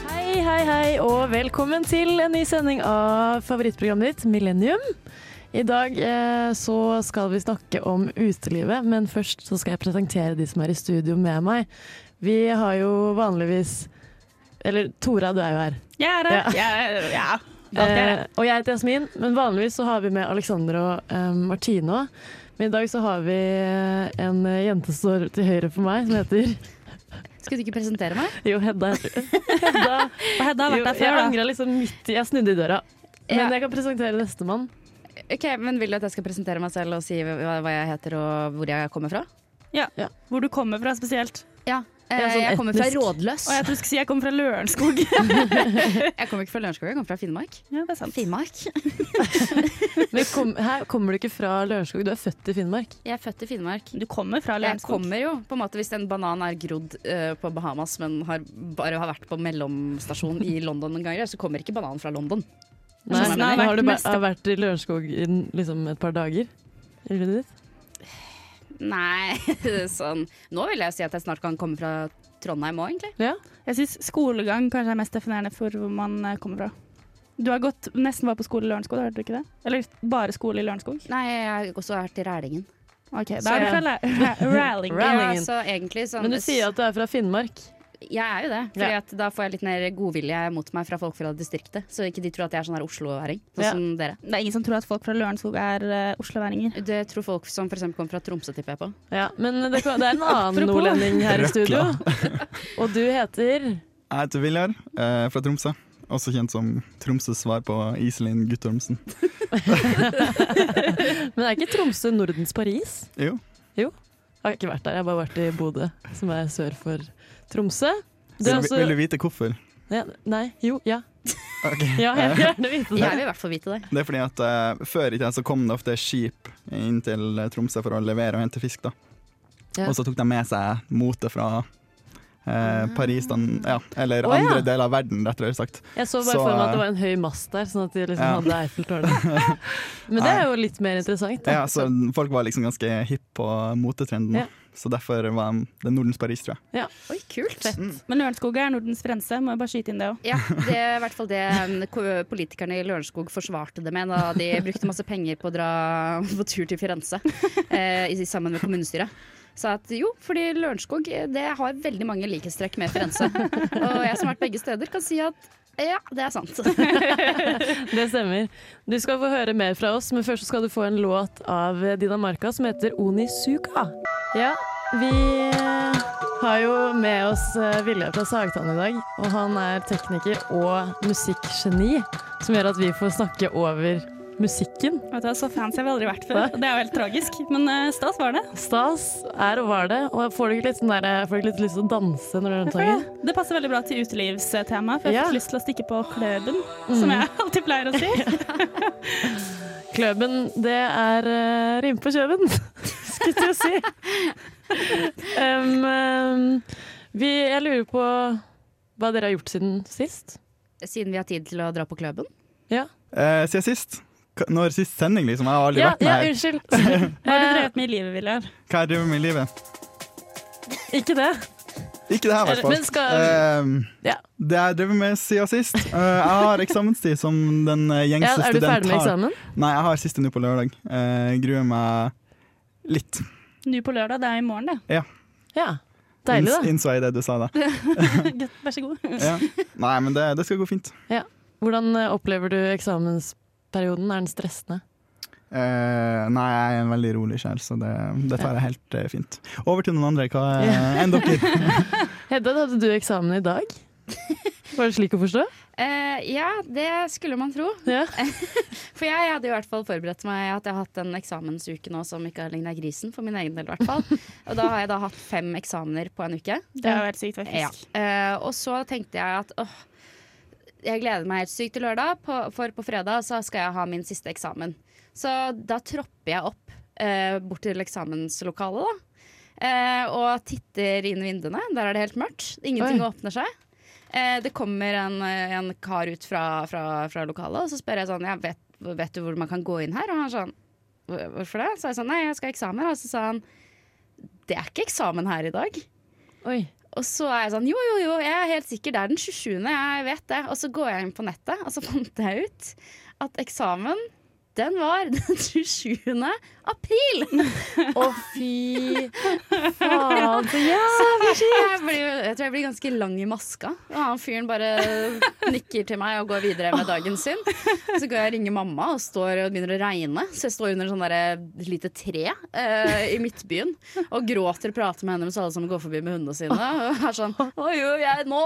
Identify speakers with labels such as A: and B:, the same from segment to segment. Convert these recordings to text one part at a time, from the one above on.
A: Hei, hei, og velkommen til en ny sending av favorittprogrammet ditt, Millennium. I dag eh, så skal vi snakke om utelivet, men først så skal jeg presentere de som er i studio med meg. Vi har jo vanligvis Eller Tora, du er jo her.
B: Jeg er her.
A: Ja.
B: Jeg, ja.
A: Eh, og jeg heter Jasmin, men vanligvis så har vi med Alexander og eh, Martine òg. Men i dag så har vi eh, en eh, jente som står til høyre for meg, som heter
C: Skulle du ikke presentere meg?
A: Jo, Hedda. heter hun. Hedda.
B: Og Hedda har
A: Jo,
B: vært der før,
A: Jeg
B: da.
A: angra liksom midt i Jeg snudde i døra. Men
C: Ja.
A: jeg kan presentere nestemann.
C: Ok, men Vil du at jeg skal presentere meg selv og si hva, hva jeg heter og hvor jeg kommer fra?
B: Hvor du kommer fra spesielt.
C: Ja, eh,
A: Ja, sånn
C: Jeg kommer fra
A: etnisk.
C: Rådløs.
B: Og jeg tror du skulle si jeg kommer fra Lørenskog.
C: Jeg kommer ikke fra Lørenskog, jeg kommer fra Finnmark.
B: Ja, det er sant.
C: Finnmark?
A: Men kom, her kommer du ikke fra Lørenskog, du er født i Finnmark.
C: Jeg er født i Finnmark.
B: Du kommer fra
C: Jeg
B: Lørenskog.
C: kommer jo på en måte hvis en banan er grodd eh, på Bahamas, men har, bare har vært på mellomstasjon i London en gang, så kommer ikke bananen fra London.
A: Nei,
B: sånn
A: nå
B: har jeg vært
A: har du bare,
B: mest-
A: har vært i Lørenskog i n- liksom et par dager. i livet ditt.
C: Nei, sånn Nå vil jeg si at jeg snart kan komme fra Trondheim òg, egentlig.
A: Ja.
B: Jeg syns skolegang kanskje er mest definerende for hvor man eh, kommer fra. Du har gått, nesten var på skole i Lørenskog, hørte du ikke det? Eller bare skole i Lørenskog?
C: Nei, jeg har også vært i Rælingen.
B: Ok,
C: Så-
B: Da er du fra Læ- Ra- Rallying.
A: Ra- Rælingen.
C: Ja, så egentlig sånn
A: Men du sier at du er fra Finnmark.
C: Jeg er jo det, for da får jeg litt mer godvilje mot meg fra folk fra distriktet. Så ikke de tror at jeg er sånn her Oslo-væring, sånn
A: Ja.
C: som dere.
B: Det er ingen som tror at folk fra Lørenskog er eh, osloværinger.
C: Det tror folk som f.eks. kommer fra Tromsø, tipper jeg på.
A: Ja, men det, kan- det er en annen
B: Apropos.
A: nordlending her i
D: Røkla.
A: studio. Og du heter
D: Jeg heter Viljar, eh, fra Tromsø. Også kjent som Tromsøs svar på Iselin Guttormsen.
A: Men er ikke Tromsø Nordens Paris?
D: Jo,
A: Jeg har ikke vært der, jeg har bare vært i Bodø, som er sør for Tromsø. Du
D: vil,
A: er altså- også-
D: vil du vite hvorfor?
A: ja, Nei, jo, ja.
D: Ok. Eh,
A: Ja, jeg vil gjerne vite
C: Jeg
A: det.
C: vil i hvert fall vite det.
D: Det er fordi at eh, Før i tida så kom det ofte skip inn til eh, Tromsø for å levere og hente fisk. da.
A: Ja. Ah.
D: Og så tok de med seg mote fra eh, Paris, da, ja, eller
A: Å, ja.
D: andre deler av verden, rettere sagt.
A: Jeg så bare
D: Så,
A: for meg at
D: eh,
A: det var en høy mast der, sånn at de liksom
D: Ja.
A: hadde Eiffeltårnet. Men det er jo litt mer interessant. Da.
D: Ja, så Folk var liksom ganske hipp på motetrenden.
A: Ja.
D: da. Så derfor var de- det er Nordens Paris, tror jeg.
A: Ja.
C: Oi, kult.
B: Men Lørenskog er Nordens grense, må jeg bare skyte inn det òg.
C: Ja, det er i hvert fall det mm, ko- politikerne i Lørenskog forsvarte det med da de brukte masse penger på å dra på tur til Firenze eh, i- sammen med kommunestyret. Sa at jo, fordi Lørenskog eh, det har veldig mange likhetstrekk med Firenze. Og jeg som har vært begge steder, kan si at ja, det er sant.
A: Det stemmer. Du skal få høre mer fra oss, men først så skal du få en låt av Dinamarca som heter Onisuka. Ja, vi eh, har jo med oss eh, Viljar fra Sagtann i dag, og han er tekniker og musikkgeni, som gjør at vi får snakke over musikken.
B: Så fancy har vi aldri vært før. Det er jo helt tragisk. Men eh, stas var det.
A: Stas er og var det, og får du ikke litt, sånn der, får du ikke litt lyst til å danse når du er rundt sangen?
B: Det passer veldig bra til utelivstemaet, for jeg
A: Ja.
B: fikk lyst til å stikke på kløben, som jeg alltid pleier å si.
A: Kløben, det er uh, rim på kjøben, skulle jeg til å si. Em, em, vi, jeg lurer på hva dere har gjort siden sist.
C: Siden vi har tid til å dra på kløben.
A: Ja,
D: Eh, siden sist? K- Når sist sending, liksom? Jeg har aldri
A: ja,
D: vært med
A: ja
D: her.
A: unnskyld.
B: Hva har du
A: Eh,
B: drevet med i livet, Viljar?
D: Hva jeg driver med i livet?
A: ikke det.
D: Ikke det her, i hvert fall.
A: Men skal-
D: Ehm,
A: Ja.
D: Det jeg driver med siden sist. Eh, jeg har eksamenstid som den eh,
A: Ja,
D: gjengse
A: er du
D: student
A: ferdig med
D: har.
A: eksamen?
D: Nei, jeg har siste nå på lørdag. Eh, gruer meg litt.
B: Nå på lørdag, det er i morgen, det.
A: Ja. Deilig,
D: Inns-
A: da.
D: Innså jeg det du sa da.
B: Godt, Vær så god.
D: Ja. Nei, men det, det skal gå fint.
A: Hvordan eh, opplever du eksamensperioden? Er den stressende?
D: Eh, nei, jeg er en veldig rolig sjel, så det, det tar jeg helt eh, fint. Over til noen andre. Hva eh, enn dere?
A: Hedda, hadde du eksamen i dag? Var det slik å forstå?
C: Eh, ja, det skulle man tro.
A: Ja.
C: For jeg hadde jo i hvert fall forberedt meg at jeg har hatt en eksamensuke nå som ikke har lignet grisen, for min egen del i hvert fall. Og da har jeg da hatt fem eksamener på en uke.
B: Det er jo helt sykt,
C: Ja.
B: faktisk.
C: Eh, og så tenkte jeg at åh, jeg gleder meg helt sykt til lørdag, på, for på fredag så skal jeg ha min siste eksamen. Så da tropper jeg opp eh, bort til eksamenslokalet, da. Eh, og titter inn vinduene. Der er det helt mørkt. Ingenting
A: Oi.
C: åpner seg. Eh, det kommer en, eh, en kar ut fra, fra, fra lokalet, og så spør jeg sånn jeg vet, 'Vet du hvor man kan gå inn her?' Og han sånn «Hvor- 'Hvorfor det?' Så er jeg sånn 'Nei, jeg skal ha eksamen'. Og så sa han 'Det er ikke eksamen her i dag'.
A: Oi.
C: Og så er jeg sånn jo, jo, jo, jeg er helt sikker, det er den 27. Jeg vet det. Og så går jeg inn på nettet, og så fant jeg ut at eksamen, den var den 27. april!
A: Å, fy faen, så jævlig!
C: Jeg, blir, jo- jeg tror jeg blir ganske lang i maska. Og han fyren bare nikker til meg og går videre med dagen sin. Så går jeg og ringer mamma, og står og begynner å regne. Så jeg står under sånn der et lite tre eh, i midtbyen og gråter og prater med henne mens alle som går forbi med hundene sine. Og er sånn Hva gjør jeg nå?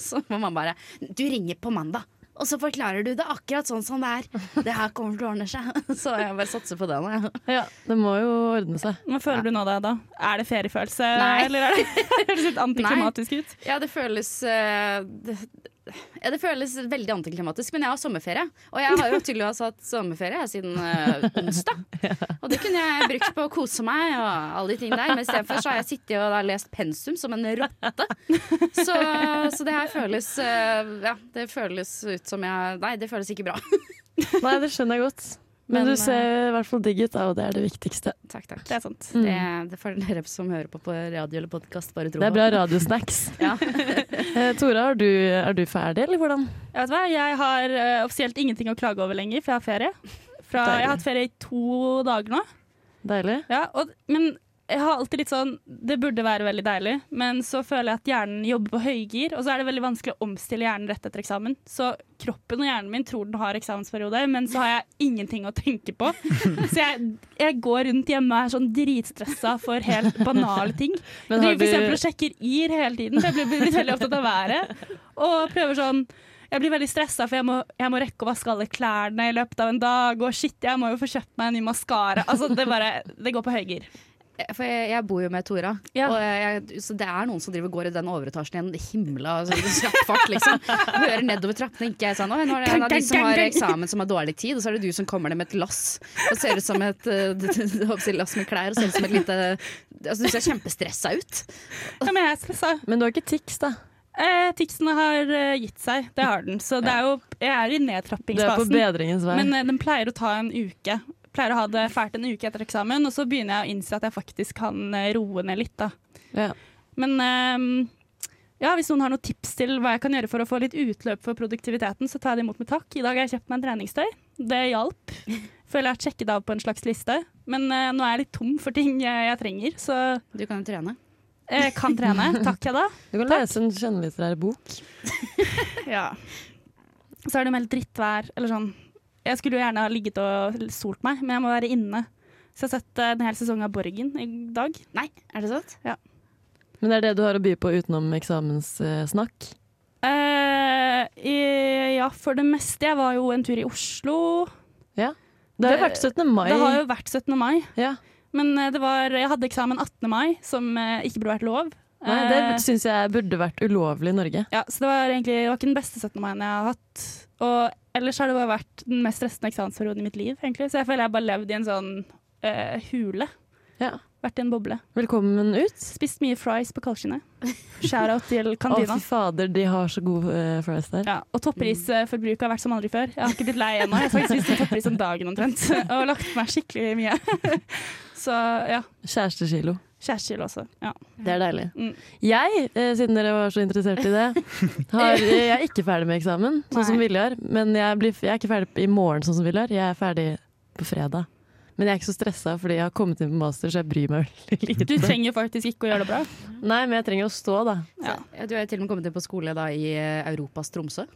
C: Så må mamma bare Du ringer på mandag. Og så forklarer du det akkurat sånn som det er. Det her kommer til å ordne seg. Så jeg bare satser på det nå. jeg.
A: Ja, det må jo ordne seg.
B: Hva føler du nå da? da? Er det feriefølelse,
C: Nei.
B: eller er det, høres litt antiklimatisk ut?
C: Ja, det føles eh, det, ja, det føles veldig antiklimatisk, men jeg har sommerferie. Og jeg har jo tydeligvis hatt sommerferie siden eh, onsdag. Og det kunne jeg brukt på å kose meg og alle de tingene der. Men istedenfor så har jeg sittet og da lest pensum som en rotte. Så, så det her føles eh, Ja, det føles ut som jeg Nei, det føles ikke bra.
A: Nei, det skjønner jeg godt. Men,
C: Men,
A: du ser i hvert fall digg ut, da, og det er det viktigste.
C: Takk, takk.
B: Det er sant.
A: Mm.
C: Det, det får dere som hører på på radio eller podkast, bare tro
A: Det er
C: på.
A: bra radiosnacks.
C: Ja.
A: Eh, Tora, er du, er du ferdig, eller hvordan?
B: Jeg, vet du hva? jeg har eh, offisielt ingenting å klage over lenger, for jeg har ferie. Fra, jeg har hatt ferie i to dager nå.
A: Deilig.
B: Ja, og, men jeg har alltid litt sånn Det burde være veldig deilig, men så føler jeg at hjernen jobber på høygir, og så er det veldig vanskelig å omstille hjernen rett etter eksamen. Så kroppen og hjernen min tror den har eksamensperiode, men så har jeg ingenting å tenke på. Så jeg, jeg går rundt hjemme og er sånn dritstressa for helt banale ting.
A: Men
B: Men
A: har
B: Driver for
A: du-
B: eksempel og sjekker ir hele tiden, for jeg blir blitt veldig opptatt av været. Og prøver sånn Jeg blir veldig stressa, for jeg må, jeg må rekke å vaske alle klærne i løpet av en dag. Og shit, jeg må jo få kjøpt meg en ny maskara. Altså, det bare Det går på høygir.
C: Eh, For jeg, jeg bor jo med Tora,
B: Ja.
C: og jeg, så det er noen som driver og går i den overetasjen i en himla sånn kjapp fart, liksom. Og Hører nedover trappene, ikke jeg sånn. «Å, Nå er det en av de som har eksamen som har dårlig tid, og så er det du som kommer ned med et lass og ser ut som et eh, d- d- d- håper jeg å si lass med klær og ser ut som et lite Altså, du ser kjempestressa ut.
B: Ja, men jeg er stressa.
A: Men du har ikke tics, da?
B: Eh, Tixen har eh, gitt seg. Det har den. Så det er jo Jeg er
A: Du
B: i
A: er på
B: nedtrappingsfasen.
A: bedringens vei.
B: Men eh, den pleier å ta en uke. Pleier å ha det fælt en uke etter eksamen, og så begynner jeg å innse at jeg faktisk kan eh, roe ned litt, da.
A: Ja.
B: Men ehm, ja, hvis noen har noen tips til hva jeg kan gjøre for å få litt utløp for produktiviteten, så tar jeg det imot med takk. I dag har jeg kjøpt meg en treningstøy. Det hjalp. Føler jeg har sjekket av på en slags liste. Men eh, nå er jeg litt tom for ting jeg, jeg trenger, så
C: Du kan jo trene.
B: jeg kan trene. Takk, jeg da.
A: Du kan lese en skjønnlitterær bok.
B: Ja. Så er det meldt drittvær, eller sånn. Jeg skulle jo gjerne ha ligget og solt meg, men jeg må være inne. Så jeg har sett eh, en hel sesong av Borgen i dag.
C: Nei, er det sant?
A: Men det er det du har å by på utenom eksamenssnakk?
B: Eh, i, ja, for det meste. Jeg var jo en tur i Oslo.
A: Ja. Det har jo
B: Det-
A: vært 17. mai.
B: Det har jo vært 17. mai.
A: ja.
B: Men eh, det var, jeg hadde eksamen 18. mai, som eh, ikke burde vært lov.
A: Nei, det
B: Eh,
A: syns jeg burde vært ulovlig i Norge.
B: ja, så det var egentlig det var ikke den beste 17. mai-en jeg har hatt. Og ellers har det bare vært den mest stressende eksamensperioden i mitt liv, egentlig. Så jeg føler jeg har bare levd i en sånn eh, hule.
A: Ja.
B: Vært i en boble.
A: Velkommen ut.
B: Spist mye fries på kaldskinnet. Shout-out til
A: Å, fy Mm.
B: kantina.
A: fader, de har så god eh, fries der.
B: Ja, og topprisforbruket har vært som aldri før. Jeg har ikke blitt lei ennå. Jeg har faktisk spist en toppris om dagen omtrent. Og lagt meg skikkelig mye. Så ja.
A: Kjærestekilo.
B: Kjærestekilo også. Ja.
A: Det er deilig.
B: Mm.
A: Jeg, eh, siden dere var så interessert i det, har, eh, jeg er ikke ferdig med eksamen, sånn som
B: Nei.
A: Viljar. Men jeg, blir, jeg er ikke ferdig i morgen, sånn som Viljar. Jeg er ferdig på fredag. Men jeg er ikke så stressa, fordi jeg har kommet inn på master, så jeg bryr meg veldig lite.
B: Du trenger faktisk ikke å gjøre det bra.
A: Nei, men jeg trenger å stå, da.
B: Ja.
C: Ja, Du er jo til og med kommet inn på skole da i eh, Europas Tromsø.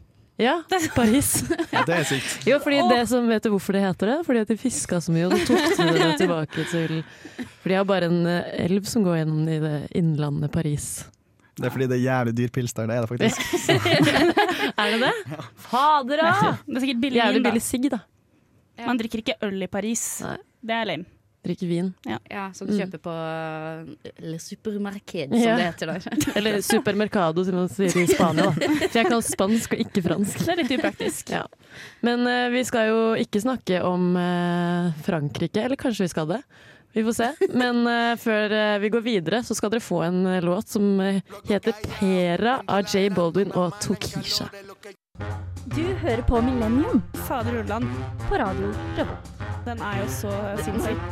A: Ja, Paris.
D: Ja, det er sykt.
A: Jo, fordi det som vet du hvorfor det heter det? Fordi at de fiska så mye, og de tok med det tilbake til For de har bare en eh, elv som går gjennom i det innlandet Paris.
D: Det er fordi det er jævlig dyr pils der, det er det faktisk.
A: Er det det? Fader, da!
B: Det er sikkert billig
A: Jævlig
B: vin, da.
A: billig sigg, da.
B: Man drikker ikke øl i Paris.
A: Nei.
B: Det er lame.
A: Drikker vin.
C: Ja, Som du kjøper på eh, Le Supermarked, som
A: Ja.
C: det heter der.
A: Eller supermercado, som man sier i Spania. Da. For jeg kan spansk og ikke fransk.
B: Det er litt upraktisk.
A: Ja. Men eh, vi skal jo ikke snakke om eh, Frankrike, eller kanskje vi skal det. Vi får se. Men eh, før eh, vi går videre, så skal dere få en eh, låt som eh, heter 'Pera' av J. Baldwin og Tokisha.
E: Du hører på Millennium
B: Fader Ulland,
E: på Radio Revolt.
B: den er jo så eh, sinnssyk.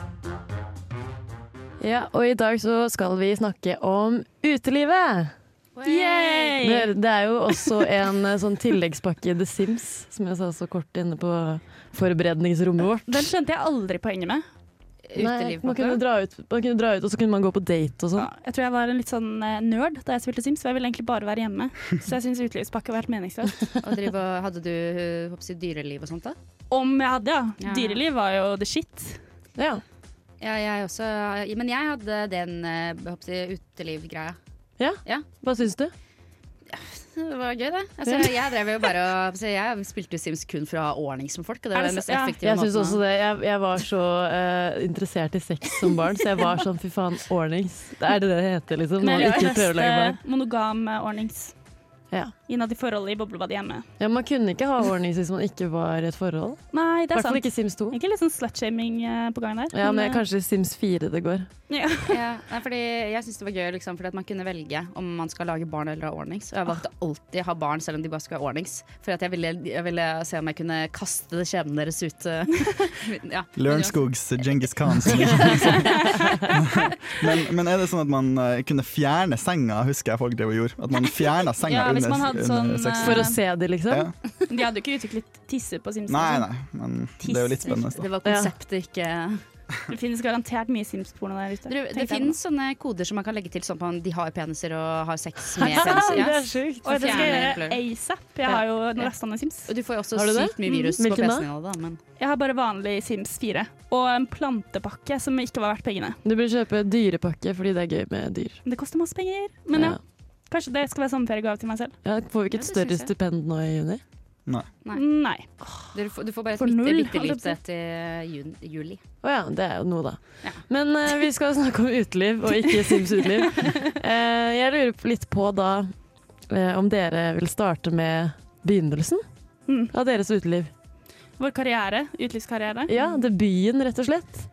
A: Ja, og i dag så skal vi snakke om utelivet.
B: Yay!
A: Det, det er jo også en eh, sånn tilleggspakke i The Sims, som jeg sa så kort inne på forberedningsrommet vårt.
B: Den skjønte jeg aldri poenget med.
A: Nei,
C: Uteliv, på
A: man,
C: en
A: kunne
C: måte.
A: dra ut, man kunne dra ut, og så kunne man gå på date og
B: Ja,
A: sånn.
B: jeg tror jeg var en litt sånn eh, nerd da jeg spilte Sims, for jeg ville egentlig bare være hjemme. Så jeg syns utelivspakke var helt meningsløst.
C: Og drive og- hadde du øh, håper jeg, dyreliv og sånt da?
B: Om jeg hadde, ja.
C: Ja.
B: Dyreliv var jo the shit.
A: Ja.
C: Ja, jeg også. ja, Men jeg hadde den eh, håper jeg, utelivgreia.
A: Hva syns du?
C: Det var gøy, det. Altså, jeg drev jo bare og håper jeg, jeg spilte jo Sims kun for å ha ordning som folk, og
B: Er
C: det var
B: det
C: den mest
B: så- ja,
C: effektive
A: Jeg syns
C: måten.
A: også
C: å-
A: det. Jeg, jeg var så eh, interessert i sex som barn, så jeg var sånn fy faen, ordnings. Det er det det heter, liksom.
B: Men
A: Man
B: jeg
A: ikke prøver å lage barn.
B: leste monogam eh, ordnings
A: Ja.
B: innad i forholdet i boblebadet hjemme.
A: ja, Man kunne ikke ha ordnings hvis man ikke var i et forhold.
B: Nei,
A: I
B: det er
A: hvert fall
B: sant.
A: ikke Sims 2.
B: Ikke litt sånn slutshaming eh, på gang der.
A: Ja, men
B: eh,
A: kanskje Sims 4 det går.
B: ja.
C: Ja, nei, fordi jeg syns det var gøy liksom, fordi at man kunne velge om man skal lage barn eller ha ordnings. Og jeg valgte alltid å ha barn selv om de bare skulle ha ordnings. For at jeg, ville, jeg ville se om jeg kunne kaste skjebnen deres ut. eh, ja.
D: Lørenskogs Djengis Khan. som det heter. men, men er det sånn at man eh, kunne fjerne senga, husker jeg folk drev og gjorde? At man eh, fjerna senga
B: Ja, hvis
D: under,
B: man hadde
D: under
B: sånn,
D: sexen?
A: For å se de, liksom.
D: Ja.
B: De hadde jo ikke utviklet tisse på Sims.
D: Nei,
B: liksom.
D: nei, men det er jo litt spennende. Da.
C: Det var konseptet, ikke
B: Det finnes garantert mye Sims-porno der ute.
C: Du, Det
B: tenkte jeg
C: finnes sånne koder som man kan legge til sånn på om de har peniser og har sex med
A: Det
C: peniser. Ja.
A: er sjukt.
B: nå. Oi, det skal jeg gjøre
C: Fjerne
B: asap. Jeg har jo nå lasta ned Sims.
C: Og du får jo også
A: Har du det?
C: sykt mye virus
A: Mhm.
C: på
A: Hvilken da?
C: PC-en din. Da, men
B: Jeg har bare vanlig Sims 4. Og en plantepakke som ikke var verdt pengene.
A: Du bør kjøpe dyrepakke fordi det er gøy med dyr.
B: Men det koster masse penger. Men ja,
A: Ja.
B: kanskje det skal være sommerferiegave til meg selv.
A: Ja, får vi ikke
C: Ja,
A: et
C: det
A: større
C: syns jeg.
A: stipend nå i juni?
C: Nei.
B: Mm, Nei.
C: du, får- du får bare et
B: For
C: bitte,
B: null,
C: bitte
B: holdt
C: lite
B: jeg
C: til jun, juli.
A: Å ja, det er jo noe, da.
C: Ja.
A: Men eh, vi skal snakke om uteliv, og ikke Sims uteliv. Eh, jeg lurer på- litt på da eh, om dere vil starte med begynnelsen
B: Mm.
A: av deres uteliv.
B: Vår karriere. Utelivskarriere.
A: Ja, debuten, rett og slett.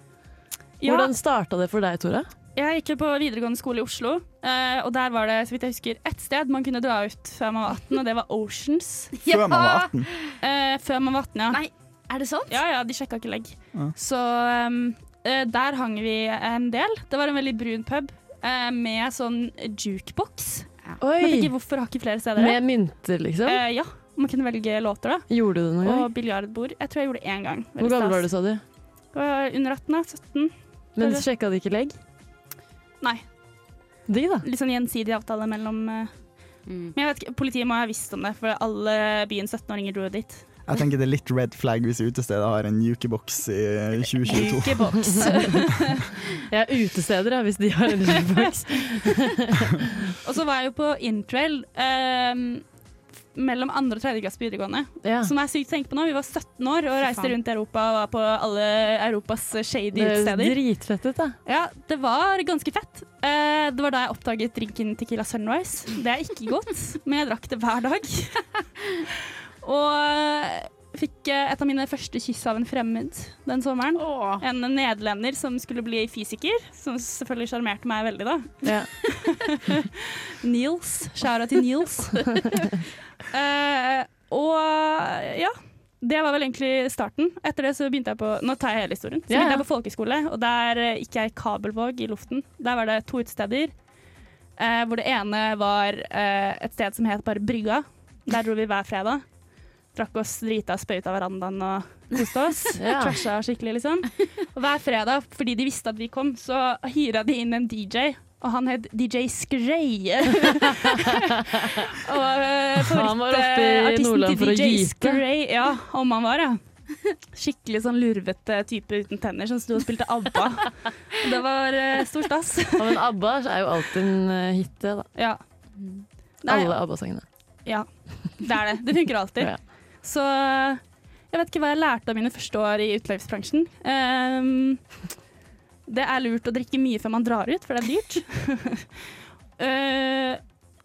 B: Ja,
A: Hvordan starta det for deg, Tora?
B: jeg gikk jo på videregående skole i Oslo, eh, og der var det så vidt jeg husker, ett sted man kunne dra ut før man var 18, og det var Oceans.
D: Før man var 18.
B: Eh, før man var 18, ja.
C: Nei, er det sant?
B: Ja, ja, de sjekka ikke legg.
D: Ja.
B: Så um, eh, der hang vi en del. Det var en veldig brun pub eh, med sånn jukebox. Jeg vet
A: Oi!
B: ikke hvorfor har ikke flere steder det.
A: Med mynter, liksom?
B: Eh, ja, man kunne velge låter, da.
A: Gjorde du det noen gang?
B: Og biljardbord. Jeg tror jeg gjorde det én gang.
A: Hvor gammel var du, sa du?
B: Under 18, da. 17.
A: Men sjekka de ikke legg?
B: Nei.
A: De, da.
B: Litt sånn gjensidig avtale mellom eh,
C: Mm.
B: Men jeg vet ikke, Politiet må ha visst om det, for alle byens 17-åringer dro jo dit.
D: Jeg tenker det er litt red flag hvis utestedet har en jukeboks i eh, 2022.
B: Jukebox.
A: Ja, utesteder, ja, hvis de har en jukebox.
B: og så var jeg jo på interrail eh, mellom andre og tredje klasse på videregående.
A: Ja.
B: Som er sykt å tenke på nå. Vi var 17 år og
C: Fy
B: reiste
C: faen.
B: rundt i Europa og var på alle Europas shady
A: Det er
B: utesteder.
A: dritfett ut, da.
B: Ja, det var ganske fett. Eh, det var da jeg oppdaget drinken Tequila Sunrise. Det er ikke godt, men jeg drakk det hver dag. og eh, fikk eh, et av mine første kyss av en fremmed den sommeren.
C: Åh.
B: En nederlender som skulle bli fysiker, som selvfølgelig sjarmerte meg veldig da.
A: Ja.
B: Niels. Skjæra til Niels. Eh, og ja. Det var vel egentlig starten. Etter det så begynte jeg på Nå tar jeg hele historien. Så
A: Ja, ja.
B: begynte jeg på folkehøyskole, og der eh, gikk jeg i Kabelvåg i luften. Der var det to utesteder. eh, hvor det ene var eh, et sted som het bare Brygga. Der dro vi hver fredag. Drakk oss drita, spøyt av verandaen og koste oss.
A: Ja.
B: Trasha skikkelig, liksom. Og hver fredag, fordi de visste at vi kom, så hyra de inn en DJ. Og han het DJ Skrei. og eh,
A: Han var oppe i
B: favorittartisten
A: Nordland for å
B: DJ
A: gyte.
B: Skrei, ja, om han var, ja. Skikkelig sånn lurvete type uten tenner som sto og spilte ABBA. Det var eh, stor stas.
A: Ja, men ABBA er jo alltid en eh, hit, det, da.
B: Ja. Nei,
A: Alle ABBA-sangene.
B: Ja, det er det. Det funker alltid.
A: Ja.
B: Så jeg vet ikke hva jeg lærte av mine første år i utelivsbransjen. Ehm, det er lurt å drikke mye før man drar ut, for det er dyrt. Eh,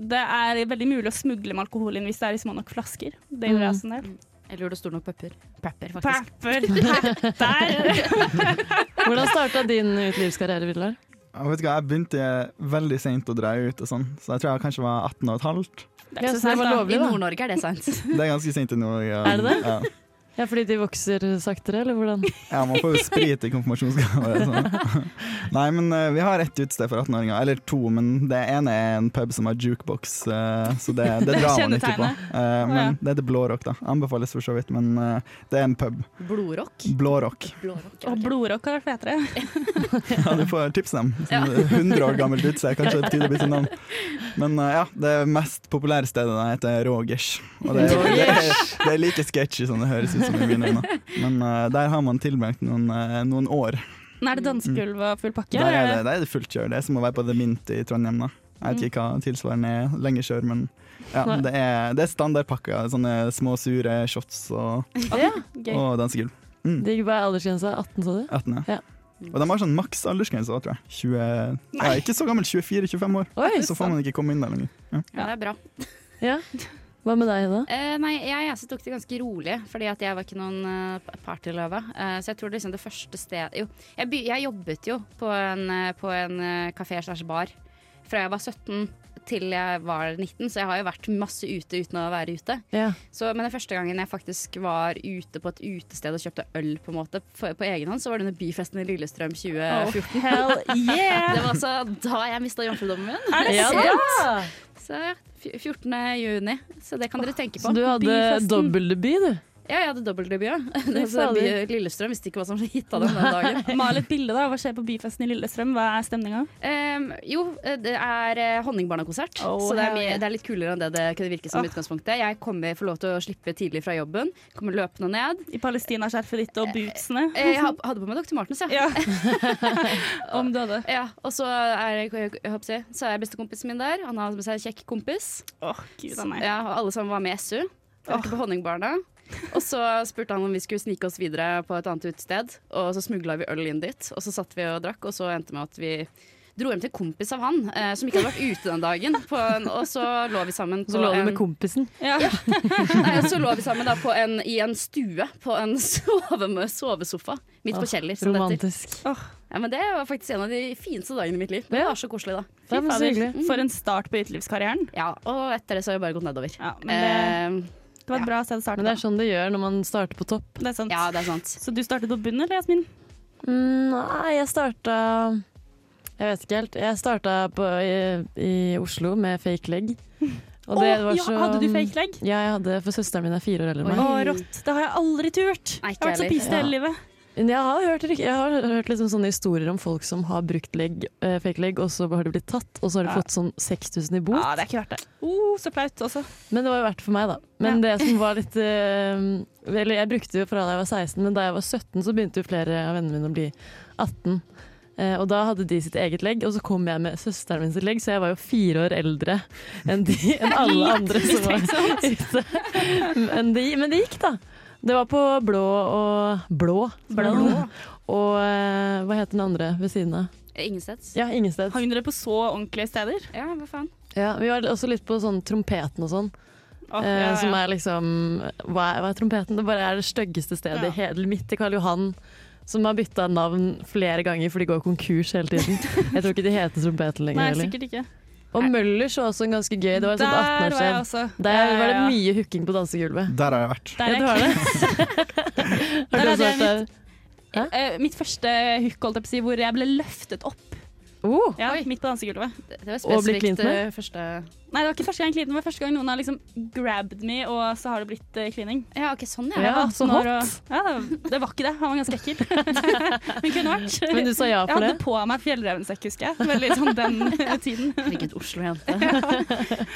B: det er veldig mulig å smugle med alkohol inn hvis det er i små nok flasker. Det gjorde jeg også
A: Mm.
B: en del.
C: Eller gjorde det stor nok pepper. Pepper, faktisk.
B: Pepper, pepper.
A: Hvordan starta din eh, utelivskarriere, Vidar?
D: Jeg, vet ikke, jeg begynte veldig seint å dra ut, og sånn, så jeg tror jeg kanskje var 18 og et halvt.
B: Det er ikke
A: Ja,
B: så
A: så det
B: sant,
A: var
B: da.
A: lovlig.
C: I Nord-Norge er det sant.
D: Det er ganske seint i Norge.
A: Er det det?
D: Ja.
A: Ja, fordi de vokser saktere, eller hvordan?
D: Ja, man får jo sprit i konfirmasjonsgave. Så. Nei, men eh, vi har ett utested for 18-åringer, eller to, men det ene er en pub som har jukebox, eh, så det, det drar man ikke på.
B: Kjennetegnet.
D: Eh,
B: Å, ja.
D: men det heter blårock, da. Anbefales for så vidt, men eh, det er en pub.
C: Blodrock.
D: Blårock.
C: Blårock
B: Og blodrock har vært fetere.
D: Ja, du får tipse dem. Sånn 100 år gammelt utested, kanskje det betyr å bytte navn. Men eh, ja, det mest populære stedet der heter Rogers. Og det, er- det, er, det er like sketchy som det høres ut som i mine øyne. Men eh, der har man tilbrakt noen, eh, noen år.
B: Nå er det dansegulv og full pakke.
D: Der er
B: eller?
D: det, der er det fullt kjør. Det er som å være på The Mint i Trondheim. da. Jeg vet ikke hva tilsvarende er. Lenge kjør, men ja,
A: Nei.
D: det er, det er standardpakker. Sånne små sure shots og,
A: Ja,
B: Gøy.
D: og dansegulv.
A: Digg. Hva er aldersgrensa? 18, sa du?
D: 18, ja.
A: Ja.
D: Og de har sånn maks aldersgrense òg, tror jeg. 20, ja, ikke så gammel, 24-25 år.
A: Oi!
D: Så får man ikke komme inn der lenger.
C: Ja, det er bra.
A: Ja. Hva med deg, Hedda?
C: Eh, nei, jeg, jeg tok det ganske rolig, fordi at jeg var ikke noen uh, partyløve. Eh, så jeg tror det, liksom det første stedet Jo, jeg, by, jeg jobbet jo på en, eh, på en eh, kafé slash bar fra jeg var 17 til jeg var 19, så jeg har jo vært masse ute uten å være ute.
A: Ja.
C: Så, men den første gangen jeg faktisk var ute på et utested og kjøpte øl på, en måte, på, på egen hånd, så var det under byfesten i Lillestrøm
A: eh,
B: Oh,
C: 2014.
B: Hell yeah!
C: Det var altså da jeg mista jomfrudommen min.
B: Er det
A: Ja,
B: sant?
A: da.
C: Så ja, fj- 14. juni. Så det kan dere tenke på.
A: Så du hadde
C: Byfesten.
A: dobbeltdebut, du?
C: Ja, jeg hadde dobbeltdebut. ja. Det
A: Fy
C: er så by-
A: fader.
C: Lillestrøm visste ikke hva som hitta dem den dagen.
B: Mal et bilde, da. Hva skjer på byfesten i Lillestrøm? Hva er stemninga?
C: Em, jo, eh, det er eh, Honningbarna-konsert,
B: Oh,
C: så det er,
B: hell
C: mye,
B: yeah.
C: det er litt kulere enn det det kunne virke som
B: Ah.
C: i utgangspunktet. Jeg kommer får lov til å slippe tidlig fra jobben, kommer løpende ned.
B: I palestinaskjerfet ditt og bootsene?
C: Eh, Jeg ha- hadde på meg Dr. Martens, ja.
B: Ja. Om du hadde.
C: ja. Og så er, jeg, jeg håper å si, så er bestekompisen min der. Han har med seg en kjekk kompis.
B: Åh, gud a meg.
C: Ja, og alle sammen var med SU. Vi var ikke på Honningbarna. Og så spurte han om vi skulle snike oss videre på et annet utested. Og så smugla vi øl inn dit, og så satt vi og drakk, og så endte det med at vi dro hjem til en kompis av han, eh, som ikke hadde vært ute den dagen. På en, og så lå vi sammen
A: Så
C: på
A: lå du
C: en,
A: med kompisen?
B: Ja.
C: nei, så lå vi sammen da på en, i en stue på en sove, sovesofa midt på
A: Åh,
C: Kjeller. som det heter.
A: Romantisk.
C: Ja, men det var faktisk en av de fineste dagene i mitt liv. Det
A: Ja.
C: var så koselig, da.
A: Ja, men så
B: Fader,
A: hyggelig. Mm.
B: For en start på utelivskarrieren.
C: Ja, og etter det så har jeg bare gått nedover. Eh,
B: Ja, men det, det var et bra sted å starte.
A: Eh, Men det er
B: da.
A: sånn det gjør når man starter på topp.
B: Det er sant.
C: Eh, ja, det er sant.
B: Så du startet på bunnen, eller, Jasmin?
A: Mm, nei, jeg starta Jeg vet ikke helt. Jeg starta på, i, i Oslo med fake leg. Og det
B: Åh,
A: var
B: ja,
A: så- Mm.
B: Hadde du fake leg?
A: Ja, jeg hadde, for søsteren min er fire år eldre enn
B: Å,
A: meg.
B: rått. Det har jeg aldri turt.
C: Nei,
B: jeg
C: ikke
B: har vært så
C: heller.
B: piste hele livet.
A: Men Jeg har hørt, ryk- jeg har hørt liksom sånne historier om folk som har brukt legg, eh, fake legg, og så har de blitt tatt, og så har de
B: Ja.
A: fått sånn 6000 i bot.
B: Ja, det er ikke verdt det. Oh, så flaut også.
A: Men det var jo verdt for meg, da. Men det som var litt eh, Eller jeg brukte jo fra da jeg var 16, men da jeg var 17, så begynte jo flere av vennene mine å bli 18. Eh, og da hadde de sitt eget legg, og så kom jeg med søsteren min sitt legg, så jeg var jo fire år eldre enn, de, enn alle andre som var ute. Men det, men det gikk, da. Det var på blå og Blå. Mm.
B: Blå.
A: Og eh, hva heter den andre ved siden av?
C: Ingensteds.
A: Ja, Ingensteds.
B: Hang dere på så ordentlige steder?
C: Ja, hva faen.
A: Ja, vi var også litt på sånn trompeten og sånn.
B: Åh,
A: Eh,
B: ja, ja.
A: Som er liksom hva er, hva er trompeten? Det bare er det styggeste stedet
B: Ja.
A: i hele midt i Karl Johan. Som har bytta navn flere ganger, for de går konkurs hele tiden. Jeg tror ikke de heter trompeten lenger.
B: Nei,
A: heller.
B: sikkert ikke.
A: og Møllers var også en ganske gøy. Det var sånn liksom et sånt
B: Der var jeg
A: 18-årssted.
B: også.
A: Der var det
B: Ja, ja, ja.
A: mye hooking på dansegulvet.
D: Der har jeg vært.
B: Der
A: Ja,
B: er
A: du har det?
B: Der
A: har du
B: hadde
A: også
B: jeg
A: vært der?
B: Eh, mitt første hook, holdt jeg på å si, hvor jeg ble løftet opp
A: Oh,
B: ja, midt på dansegulvet.
C: Det det var
A: Og bli klint
C: spesifikt
A: med?
C: eh, første
B: Nei, det var ikke første gang jeg klinet, det var første gang noen har liksom grabbed me, og så har det blitt eh, klining.
C: Ja, ok, sånn ja.
A: Ja.
B: Jeg var
A: Ah, så
B: 18 år,
A: hot.
B: Og, ja, det- det var ikke det. Han var ganske ekkel. Men kunne vært.
A: men du sa ja
B: jeg
A: for det?
B: hadde på meg fjellrevensekk, husker jeg. Veldig sånn den tiden.
C: Hvilket Oslo-jente.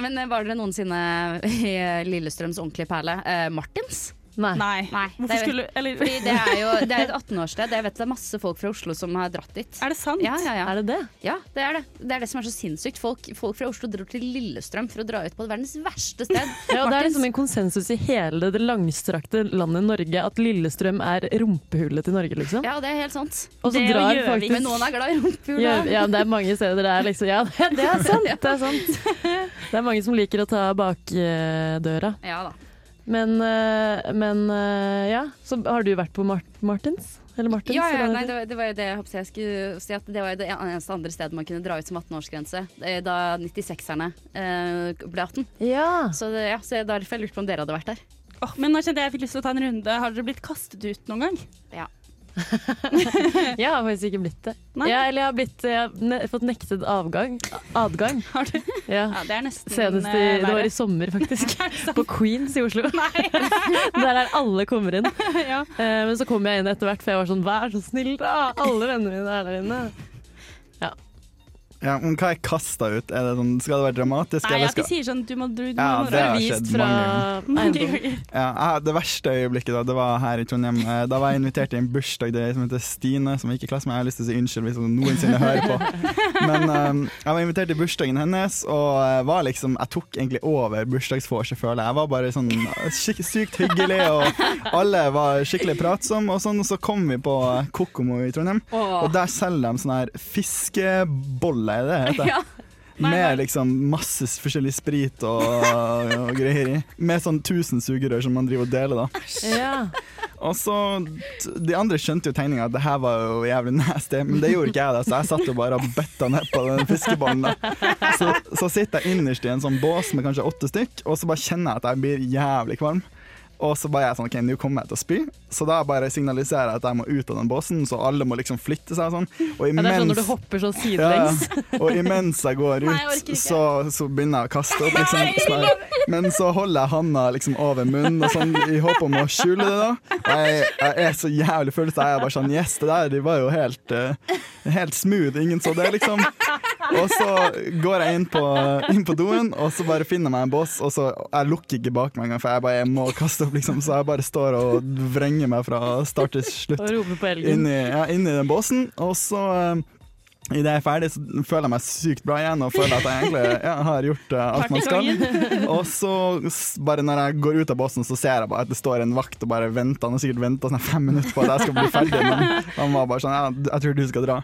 C: Men eh, var dere noensinne i eh, Lillestrøms ordentlige perle eh, Martins?
A: Nei.
B: Nei.
C: Nei, det
B: Hvorfor
C: er-
B: skulle Eller
C: Fordi det er jo det er et 18-årssted. Jeg vet det er masse folk fra Oslo som har dratt dit.
B: Er det sant?
C: Ja, ja, ja.
A: Er det det?
C: ja, det er det. Det er det som er så sinnssykt. Folk, folk fra Oslo dro til Lillestrøm for å dra ut på verdens verste sted.
A: Ja, og det er
C: Martins.
A: liksom en konsensus i hele det langstrakte landet Norge at Lillestrøm er rumpehullet til Norge, liksom.
C: Ja, det er helt sant.
A: Og så
B: det og
A: drar
B: Gjøvik.
A: faktisk
C: Men noen er glad i rumpehula.
A: Ja, ja, det er mange steder det er liksom Ja, det, det er sant, det er sant. Det er mange som liker å ta bakdøra.
C: Ja da.
A: Men, eh, men eh, ja, så har du vært på Mar Martins? Eller Martins?
C: Ja, ja,
A: eller hva
C: nei,
A: det
C: det, var- det var jo det jeg, håper jeg skulle si, at det var jo det eneste andre stedet man kunne dra ut som 18-årsgrense. eh, Da 96-erne eh, ble 18.
A: heter? ja.
C: Så det, ja, så det er derfor jeg lurte på om dere hadde vært der.
B: Åh, men nå kjente jeg jeg fikk lyst til å ta en runde. Har dere blitt kastet ut noen gang?
A: Jeg har faktisk ikke blitt det.
B: Nei.
A: Ja, eller jeg har, blitt, jeg har ne fått nektet avgang. Adgang.
B: Har du?
A: Ja.
B: Ja, det er nesten
A: Senest i,
B: eh,
A: det var
B: verre.
A: i sommer, faktisk.
B: Er det sant?
A: På Queens i Oslo. Der er alle kommer inn.
B: ja.
A: Eh, Men så kom jeg inn etter hvert, for jeg var sånn vær så snill, da! Alle vennene mine er der inne.
D: Ja, men hva er kasta ut? Er det sånn, skal det være dramatisk?
B: Nei,
D: eller
B: at de
D: skal,
B: sier sånn du må dra. Du
D: Ja,
B: må
D: det
B: dra.
D: har
A: Vist
D: skjedd
A: fra
B: Mange
A: eiendom.
B: ganger.
D: ja, jeg- det verste øyeblikket da, det var her i Trondheim. Eh, Da var jeg invitert til en bursdag det er ei som heter Stine, som jeg ikke er i klasse med. Jeg har lyst til å si unnskyld hvis hun noensinne hører på. Men eh, jeg var invitert til bursdagen hennes, og eh, var liksom, jeg tok egentlig over bursdagsvorset, føler jeg. Jeg var bare sånn skik- sykt hyggelig, og alle var skikkelig pratsomme. Og sånn, og så kom vi på eh, Kokomo i Trondheim, og der selger de sånne her fiskeboller, er det det heter?
C: Ja.
B: Nei, nei.
D: Med liksom masse forskjellig sprit og, og greier i. Med sånn 1000 sugerør som man driver og deler, da.
A: Ja.
D: Og så De andre skjønte jo tegninga at det her var jo jævlig nasty, men det gjorde ikke jeg, da, så jeg satt jo bare og bøtta ned på den fiskeballen. da. Så, så sitter jeg innerst i en sånn bås med kanskje åtte stykk, og så bare kjenner jeg at jeg blir jævlig kvalm. Og så bare er jeg sånn, ok, nå kommer jeg til å spy, så da bare signaliserer jeg at jeg må ut av den båsen, så alle må liksom flytte seg og sånn. Og
A: Ja, det er sånn når
D: imens
A: du hopper sånn
D: ja, ja.
A: sidelengs.
D: Og imens jeg går
B: Nei, jeg orker
D: ut,
B: ikke.
D: så, så begynner jeg å kaste opp. Liksom, snart. Men så holder jeg handa liksom over munnen og sånn, i håp om å skjule det. da Og Jeg, jeg er så jævlig full, så jeg er bare sånn Yes, det der de var jo helt, eh, helt smooth. Ingen så det, liksom. Og så går jeg inn på, inn på doen, og så bare finner jeg meg en bås. Og så Jeg lukker ikke bak meg engang, for jeg bare jeg må kaste opp, liksom. Så jeg bare står og vrenger meg fra start til slutt
A: Og roper på elgen.
D: inn i, ja, inn i den båsen, og så eh, Idet jeg er ferdig, så føler jeg meg sykt bra igjen og føler at jeg egentlig ja, har gjort eh, alt man skal. Og så s- bare når jeg går ut av båsen, så ser jeg bare at det står en vakt og bare venter. Han har sikkert venta sånn fem minutter på at jeg skal bli ferdig, men han var bare sånn Ja, jeg tror du skal dra.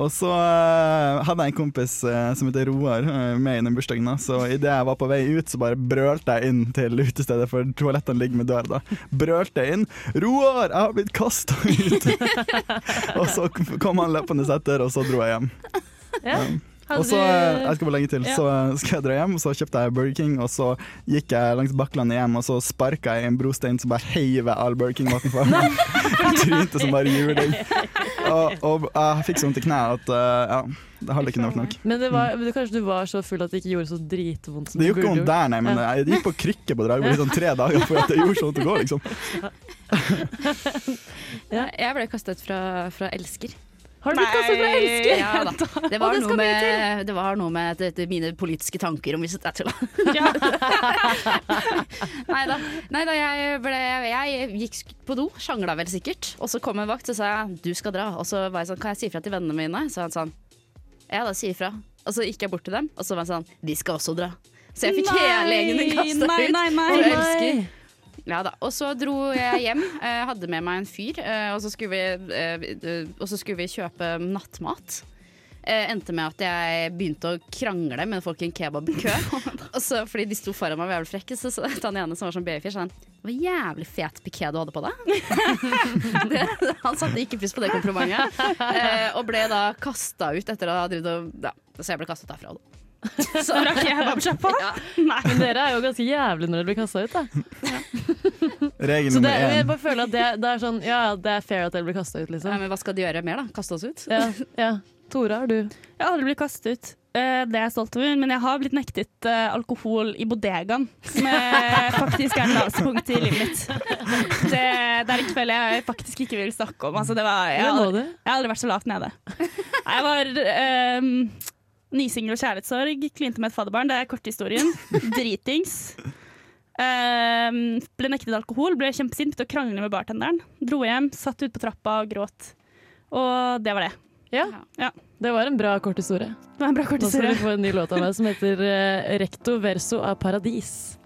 D: Og så eh, hadde jeg en kompis eh, som heter Roar eh, med i den bursdagen, da. så idet jeg var på vei ut, så bare brølte jeg inn til utestedet, for toalettene ligger med døra da. Brølte jeg inn 'Roar, jeg har blitt kasta ut'. og så kom han løpende etter, og så dro jeg hjem.
A: Ja.
D: Og så, eh, jeg skal bare legge til,
B: Ja.
D: så eh, skal jeg dra hjem, så kjøpte jeg Burger King, og så gikk jeg langs Bakklandet hjem, og så sparka jeg i en brostein som bare heiv jeg all Burger King-maten for meg. Trynte som bare juling. Og, og jeg fikk sånn til kneet at eh, ja, det hadde ikke vært nok.
A: Men det var, men kanskje du var så full at det ikke gjorde så dritvondt som
D: Det
A: det
D: gjorde ikke
A: burde
D: vondt
A: gjort.
D: der, nei, men eh, jeg gikk på krykke på Dragvoll i sånn tre dager for at det gjorde så vondt å gå, liksom.
C: Jeg ble kasta ut fra, fra elsker.
A: Har du blitt kastet fra elsker?
C: Ja, da. Det, var
A: det skal
C: noe med, det var noe med at- at mine politiske tanker om hvis jeg tulla.
B: Ja.
C: Nei da. jeg, ble, jeg gikk sk- på do, sjangla vel sikkert. Og så kom en vakt og sa jeg, du skal dra. Og så var jeg sånn, kan jeg si ifra til vennene mine? Så han sånn, ja da, si ifra. Og så gikk jeg bort til dem, og så var jeg sånn, de skal også dra. Så jeg fikk hele gjengen kasta
B: Nei,
C: ut.
B: nei,
A: Å,
B: nei.
C: Jeg
A: nei.
C: elsker. Ja da. Og så dro jeg hjem, eh, hadde med meg en fyr, eh, og så skulle vi, eh, eh, og så skulle vi kjøpe nattmat. Eh, endte med at jeg begynte å krangle med folk i en kebabkø. Og så, fordi de sto foran meg og var jævlig frekke, så sa han ene som var sånn babyfish, han Hva jævlig fet piké du hadde på deg. det, han satte ikke pris på det komplimentet. Eh, og ble da kasta ut etter å ha drevet og ja, Så jeg ble kastet derfra. Da.
B: Så rakk jeg kebabsjappa.
C: Ja.
B: Nei.
A: Men dere er jo ganske jævlig når dere blir kasta ut, da.
D: Regel
A: Så det,
D: nummer
A: jeg
D: én.
A: bare føler at det, det er sånn Ja, det er fair at dere blir kasta ut,
C: Nei,
A: liksom.
C: Eh, men hva skal de gjøre mer, da? Kaste oss ut?
A: Ja, ja. Tora, har du
B: Jeg har aldri blitt kastet ut. Eh, Det er jeg stolt over, men jeg har blitt nektet eh, alkohol i bodegaen. Som eh, faktisk er det laveste punktet i livet mitt. Det, det er en kveld jeg faktisk ikke vil snakke om. Altså, det var, jeg,
A: Eller
B: har
A: nå
B: aldri,
A: du?
B: jeg har aldri vært så lavt nede. Nei, Jeg var ehm, nysingel og kjærlighetssorg, klinte med et fadderbarn, det er korthistorien. Dritings. Ehm, ble nektet alkohol, ble kjempesint, begynte å krangle med bartenderen. Dro hjem, satt ute på trappa og gråt. Og det var det.
A: Ja.
B: Ja.
A: Det var en bra kort historie.
B: Det var en bra
A: Nå skal
B: korthistorie.
A: du få en ny låt av meg som heter eh, 'Recto verso av Paradis'.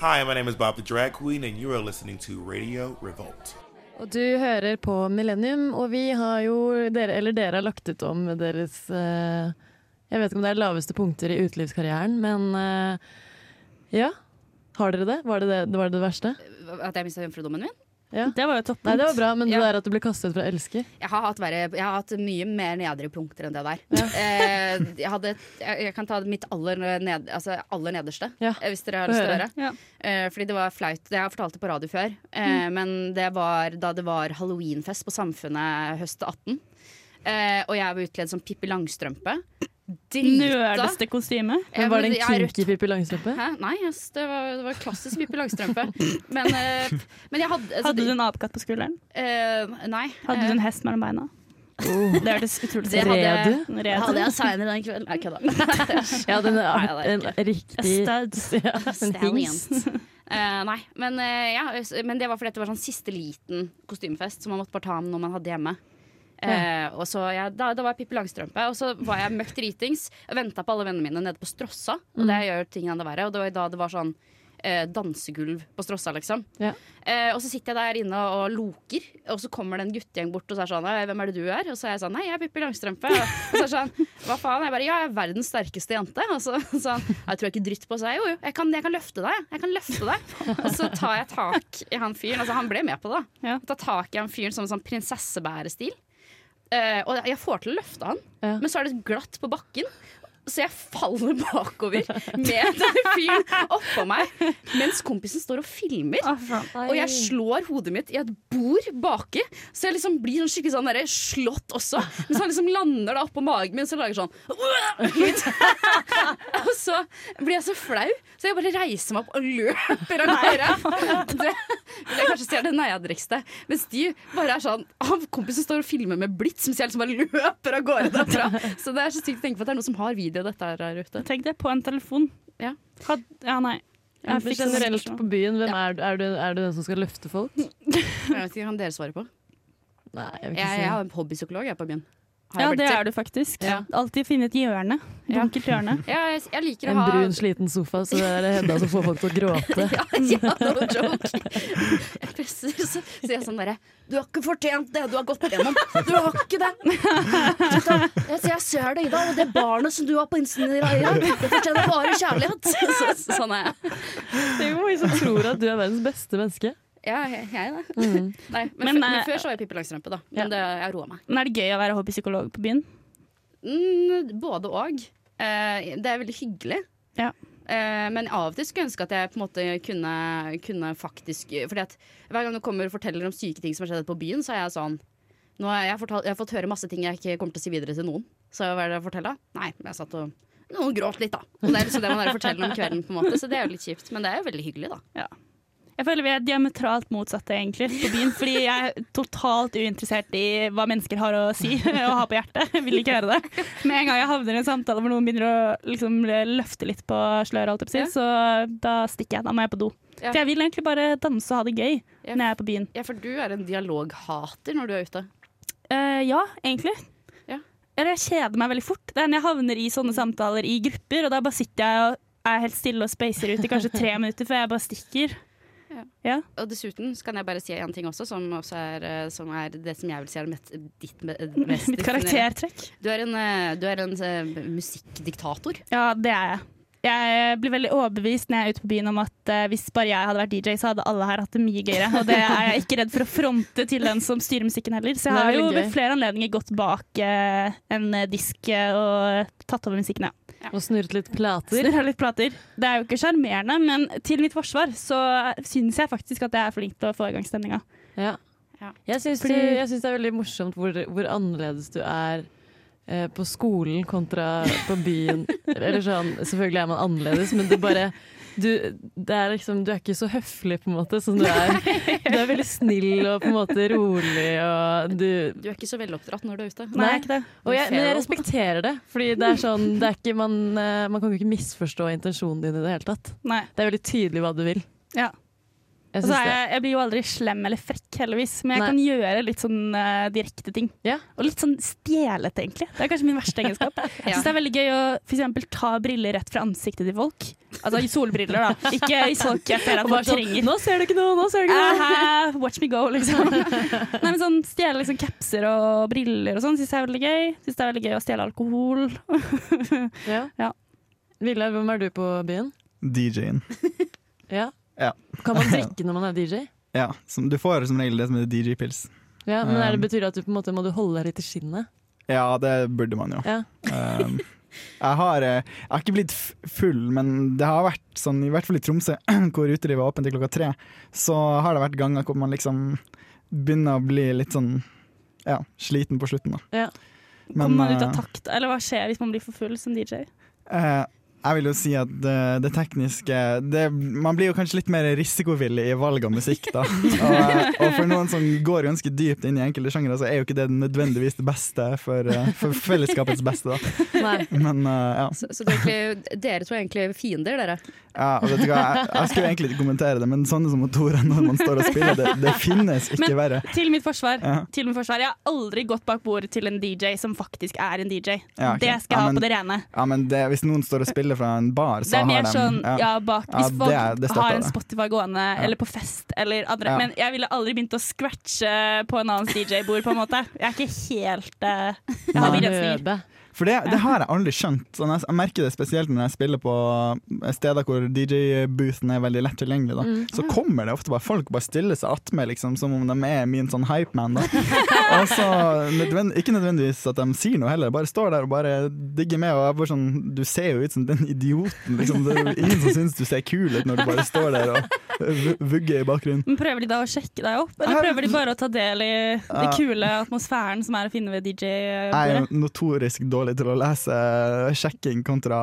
F: Hi, my name is Bob the Drag Queen, and you are listening to Radio Revolt.
A: Og du hører på Millennium, og vi har jo dere, eller dere har lagt ut om deres eh, Jeg vet ikke om det er laveste punkter i utelivskarrieren, men eh, ja. Har dere det? Var det det, var det, det verste?
C: At jeg mista jomfrudommen min?
A: Ja.
B: Det var jo et
A: Nei,
B: toppunkt.
A: det var bra, men det
C: Ja.
A: der at du ble kastet fra elsker
C: Jeg har hatt, verre, jeg har hatt mye mer nedre punkter enn det der. Eh, jeg, hadde, jeg, jeg kan ta mitt aller, ned, altså aller nederste,
A: Ja,
C: eh, hvis dere
A: få
C: har lyst til å
A: høre.
C: høre.
B: Ja.
C: Eh, fordi det var flaut. Jeg har fortalt det på radio før, eh,
A: Mm.
C: men det var da det var halloweenfest på Samfunnet høsten 18. Eh, og jeg var utkledd som Pippi Langstrømpe.
B: Nerdeste kostyme.
A: Men var det
C: Jeg-
A: en
C: jeg er
A: kinky Pippi Langstrømpe?
C: Hæ? Nei, ass, det, var, det var klassisk Pippi Langstrømpe. Men, eh, men jeg hadde altså,
B: Hadde du en apekatt på skulderen?
C: eh, Nei.
B: Hadde
C: eh,
B: du en hest mellom beina?
A: Oh.
B: Det hørtes utrolig
C: Det
B: ut.
C: hadde
A: Drev
C: jeg-
A: du?
B: Red.
C: Eh, Hadde jeg seinere den kvelden? Nei, kødda.
A: Ja, den
C: Nei, det
A: er
C: er
A: en riktig ja, en hings.
C: Stallions. Eh, nei, men, eh, ja, s- men det var fordi at det var sånn siste liten kostymefest, så man måtte bare ta med noe man hadde hjemme. Eh, og så, ja, da, da var jeg Pippi Langstrømpe, og så var jeg møkk dritings. Venta på alle vennene mine nede på Strossa, og det gjør ting enda verre. Og det var da det var sånn eh, dansegulv på Strossa, liksom.
A: Ja.
C: Eh, og så sitter jeg der inne og loker, og så kommer det en guttegjeng bort og så er sånn «Hei, 'Hvem er det du er?' Og så er jeg sånn 'Nei, jeg er Pippi Langstrømpe'. Og så er det sånn 'Hva faen?' Jeg bare 'Ja, jeg er verdens sterkeste jente'. Og så sånn 'Jeg tror jeg ikke dritt på', så jeg 'Jo, jo, jeg kan, jeg kan løfte deg'. Jeg kan løfte deg. Og så tar jeg tak i han fyren. Altså, han ble med på det, da.
B: Ja.
C: Jeg Tar tak i han fyren som en sånn prinsessebærestil. Eh, og jeg får til å løfte han,
A: Ja.
C: men så er det glatt på bakken. Så jeg faller bakover med denne fyren oppå meg, mens kompisen står og filmer.
B: Å, faen.
C: Og jeg slår hodet mitt i et bord baki, så jeg liksom blir sånn skikkelig sånn derre slått også. Mens han liksom lander da oppå magen min, så lager jeg sånn lyd. Og så blir jeg så flau, så jeg bare reiser meg opp og løper av gårde. Det vil jeg kanskje si er det nedrigste. Mens de bare er sånn Han kompisen står og filmer med blits, mens jeg liksom bare løper av gårde derfra. Så det er så sykt å tenke på at det er noen som har video av dette her der ute.
B: Tenk det, på en telefon.
C: Ja.
B: Had, ja, nei.
A: Ja,
B: Jeg
A: men
B: fikk sånn
A: generelt
B: spørsmål.
A: på byen, hvem er, du- er, du, er du den som skal løfte folk?
C: Jeg vet ikke, Kan dere svare på?
A: Nei, jeg vil
C: Jeg,
A: ikke
C: jeg
A: si
C: har en hobbypsykolog jeg på byen. Har jeg
B: Ja,
C: blitt
B: det
C: til.
B: er du faktisk.
C: Ja.
B: Alltid finne et hjørne.
C: Ja.
B: Dunkelt hjørne.
C: Ja, jeg, jeg liker å
A: En
C: ha
A: brun, sliten sofa, så det er Hedda som får folk til å gråte.
C: ja, ja, no joke. Jeg presser, så sier jeg sånn derre Du har ikke fortjent det du har gått gjennom. Du har ikke det. Vet du hva? Jeg, sier, jeg ser det i deg, og det barnet som du har på innsiden i deg, Ira, det fortjener bare kjærlighet. Så, sånn er jeg.
A: Det er jo mange som tror at du er verdens beste menneske.
C: Ja, jeg, jeg da.
A: Mm.
C: Nei, men,
B: Men,
C: før- men
B: eh,
C: før så var jeg Pippi Langstrømpe, da. Men det, jeg roa meg.
B: Men er det gøy å være hobbypsykolog på byen?
C: Mm, både og. Eh, det er veldig hyggelig.
B: Ja.
C: Eh, men av og til skulle jeg ønske at jeg på en måte kunne, kunne faktisk Fordi at hver gang du kommer og forteller om syke ting som har skjedd på byen, så er jeg sånn nå har jeg, fortalt, jeg har fått høre masse ting jeg ikke kommer til å si videre til noen. Så hva er det jeg forteller? Nei, men jeg satt og Noen gråt litt, da. Og det er liksom det man er å fortelle om kvelden, på en måte. Så det er jo litt kjipt. Men det er jo veldig hyggelig, da.
B: Jeg føler vi er diametralt motsatte egentlig på byen, fordi jeg er totalt uinteressert i hva mennesker har å si og har på hjertet. Jeg vil ikke høre det. Med en gang jeg havner i en samtale hvor noen begynner å liksom, løfte litt på sløret, holdt jeg på å si, så da stikker jeg. Da må jeg på do.
C: Ja.
B: For jeg vil egentlig bare danse og ha det gøy
C: Ja.
B: når jeg er på byen.
C: Ja, for du er en dialoghater når du er ute.
B: Eh, ja, egentlig.
C: Ja.
B: Eller jeg kjeder meg veldig fort. Det er når jeg havner i sånne samtaler i grupper, og da bare sitter jeg og er helt stille og spacer ut i kanskje tre minutter før jeg bare stikker.
C: Og dessuten så kan jeg bare si en ting også, som, også er, eh, som er det som jeg vil si er mest, ditt me- mest
B: Mitt karaktertrekk.
C: Du er en, eh, du er en eh, musikkdiktator.
B: Ja, det er jeg. Jeg blir veldig overbevist når jeg er ute på byen om at eh, hvis bare jeg hadde vært DJ, så hadde alle her hatt det mye gøyere. Og det er jeg ikke redd for å fronte til den som styrer musikken heller. Så jeg
A: Det er
B: har jo
A: veldig gøy.
B: ved flere anledninger gått bak eh, en eh, disk eh, og tatt over musikken, ja.
A: Og snurret litt plater.
B: Snurra litt plater. Det er jo ikke sjarmerende, men til mitt forsvar så eh, syns jeg faktisk at jeg er flink til å få i gang stemninga.
A: Ja.
C: Ja.
A: Jeg syns
B: Fordi-
A: du- jeg syns det er veldig morsomt hvor, hvor annerledes du er eh, på skolen kontra på byen. Eller sånn, selvfølgelig er man annerledes, men det bare du, det er liksom, du er ikke så høflig, på en måte, som du er. Du er veldig snill og på en måte rolig, og du
C: Du er ikke så veloppdratt når du er ute.
A: Nei.
B: Nei, ikke det.
A: Og jeg, men jeg
C: Pharaoh.
A: respekterer det, Fordi det er sånn det er ikke, man, eh, man kan jo ikke misforstå intensjonen din i det hele tatt.
B: Nei.
A: Det er veldig tydelig hva du vil.
B: Ja.
A: Jeg
B: Og så
A: syns
B: er
A: det.
B: Altså, jeg, jeg blir jo aldri slem eller frekk, heldigvis, men jeg
A: Nei.
B: kan gjøre litt sånn eh, direkte ting.
A: Ja.
B: Og litt sånn stjålete, egentlig. Det er kanskje min verste egenskap. Jeg syns det er veldig gøy å for eksempel, ta briller rett fra ansiktet til folk. Altså solbriller, da. Ikke i folk jeg ser at
A: Og bare
B: folk
A: sånn,
B: trenger.
A: Nå ser du ikke noe! Nå ser du ikke noe!
B: Æhæ, watch me go, liksom. Nei, men sånn, Stjele liksom capser og briller og sånn syns jeg er veldig gøy. Syns det er veldig gøy å stjele alkohol.
A: Ja.
B: Ja.
A: Villar, hvem er du på byen?
D: DJ-en.
A: Ja.
D: Ja.
A: Kan man drikke når man er DJ?
D: Ja, som, du får som regel det som heter DJ-pils.
A: Ja, men er det
D: Um,
A: betyr det at du på en måte må du holde deg litt i skinnet?
D: Ja, det burde man jo.
A: Ja.
D: Um, jeg, har, eh, jeg har ikke blitt f- full, men det har vært sånn, i hvert fall i Tromsø, hvor utelivet er åpent til klokka tre, så har det vært ganger hvor man liksom begynner å bli litt sånn ja, sliten på slutten. Da.
A: Ja.
D: Men,
B: Kommer man ut av
D: eh,
B: takt, eller hva skjer hvis man blir for full som DJ?
D: Eh, jeg vil jo si at det, det tekniske det, Man blir jo kanskje litt mer risikovillig i valg av musikk, da. Og, eh, og for noen som går ganske dypt inn i enkelte sjangere, så er jo ikke det nødvendigvis det beste for, eh, for fellesskapets beste, da.
A: Nei.
D: Men eh, ja.
C: Så, så det er egentlig, dere to er egentlig fiender, dere.
D: ja og vet du hva, jeg, jeg skulle egentlig ikke kommentere det, men sånne som Tora når man står og spiller, det, det finnes ikke
B: Men-
D: verre.
B: Til mitt forsvar.
D: Ja.
B: Til mitt forsvar. Jeg har aldri gått bak bordet til en DJ som faktisk er en DJ.
D: Ja, ok.
B: Det skal jeg
D: Ja,
B: ha
D: men-
B: på det rene.
D: Ja, men det, hvis noen står og spiller fra en bar,
B: Det
D: så
B: er mer
D: har de
B: sånn
D: ja.
B: ja, bak,
D: Ja,
B: Hvis folk
D: det er- det støtter
B: har en
D: det.
B: Spotify gående, eller på fest, eller andre
D: Ja.
B: Men jeg ville aldri begynt å scratche på en annens DJ-bord, på en måte. Jeg er ikke helt eh, Jeg har
A: Nei.
B: begrensninger.
A: Nøbe.
D: For det, det har jeg aldri skjønt. Sånn, jeg, jeg merker det spesielt når jeg spiller på eh, steder hvor DJ-boothen er veldig lett tilgjengelig. Da. Så kommer det ofte bare folk bare stiller seg attmed, liksom, som om de er min sånn hypeman. altså, nødvend, ikke nødvendigvis at de sier noe heller, bare står der og bare digger med. Og jeg bare sånn, du ser jo ut som den idioten. Liksom. Det er jo ingen som syns du ser kul ut når du bare står der og v- vugger i bakgrunnen.
B: Men Prøver de da å sjekke deg opp, eller prøver de bare å ta del i den kule atmosfæren som er å finne ved
D: Jeg er
B: DJ-bordet?
D: jo notorisk dårlig til å lese eh, sjekking kontra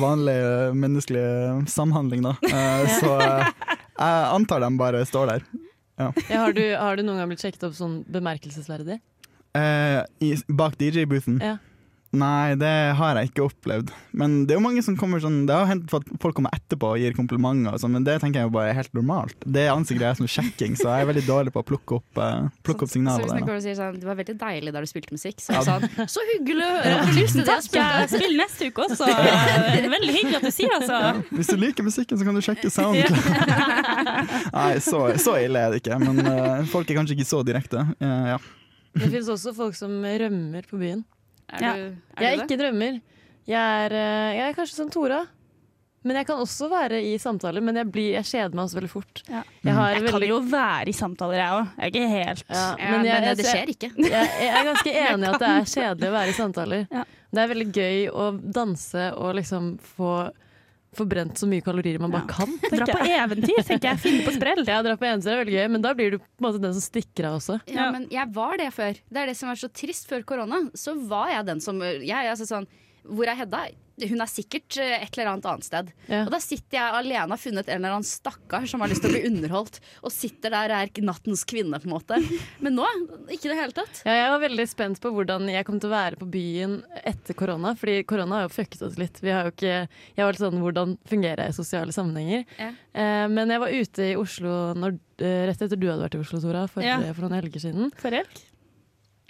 D: vanlig eh, menneskelig samhandling, da. Eh, Så eh, jeg antar de bare står der.
A: Ja, har, du, har du noen gang blitt sjekket opp sånn bemerkelsesverdig?
D: Eh, i, bak DJ-boothen?
A: Ja.
D: Nei, det har jeg ikke opplevd. Men det er jo mange som kommer sånn Det har hendt for at folk kommer etterpå og gir komplimenter, og sånn, men det tenker jeg jo bare er helt normalt. Det anser jeg som sjekking, så jeg er veldig dårlig på å plukke opp, eh, plukke opp
C: Så
D: signaler.
C: hvis
D: der,
C: man
D: da.
C: går og sier sånn Det var veldig deilig da du spilte musikk, så er det sånn Så hyggelig å høre! Har du lyst til det?
B: Takk, jeg spiller neste uke også. Veldig hyggelig at du sier det, altså.
D: Hvis du liker musikken, så kan du sjekke SoundCloud. Nei, så, så ille er det ikke, men eh, folk er kanskje ikke så direkte. Eh, ja.
A: Det finnes også folk som rømmer på byen.
C: Er du, er
A: Jeg er
C: du det?
A: ikke drømmer. Jeg er, eh, jeg er kanskje som Tora. Men jeg kan også være i samtaler, men jeg, blir, jeg kjeder meg også veldig fort.
B: Ja.
A: Jeg har
B: Jeg kan
A: veldig,
B: jo være i samtaler, jeg òg. Jeg er ikke helt
A: ja,
C: Ja, men,
A: jeg,
C: det skjer ikke.
A: Jeg, jeg er ganske enig i at det er kjedelig å være i samtaler.
B: Ja.
A: Det er veldig gøy å danse og liksom få forbrent så mye kalorier man bare
B: Ja.
A: kan.
B: Dra på eventyr, tenker jeg. Finne på sprell.
A: Ja, dra på eneste er veldig gøy, men da blir du på en måte den som stikker av også.
C: Ja,
B: Ja.
C: men jeg var det før. Det er det som er så trist før korona. Så var jeg den som jeg, altså sånn, Hvor er Hedda? Hun er sikkert eh, et eller annet annet sted.
A: Ja.
C: Og da sitter jeg alene og har funnet en eller annen stakkar som har lyst til å bli underholdt, og sitter der og er nattens kvinne, på en måte. Men nå, ikke i det hele tatt.
A: Ja, jeg var veldig spent på hvordan jeg kom til å være på byen etter korona. Fordi korona har jo fucket oss litt. Vi har jo ikke, jeg var litt sånn hvordan fungerer jeg i sosiale sammenhenger.
C: Ja.
A: Eh, men jeg var ute i Oslo når, eh, rett etter du hadde vært i Oslo, Tora, for,
B: Ja.
A: for noen helger siden.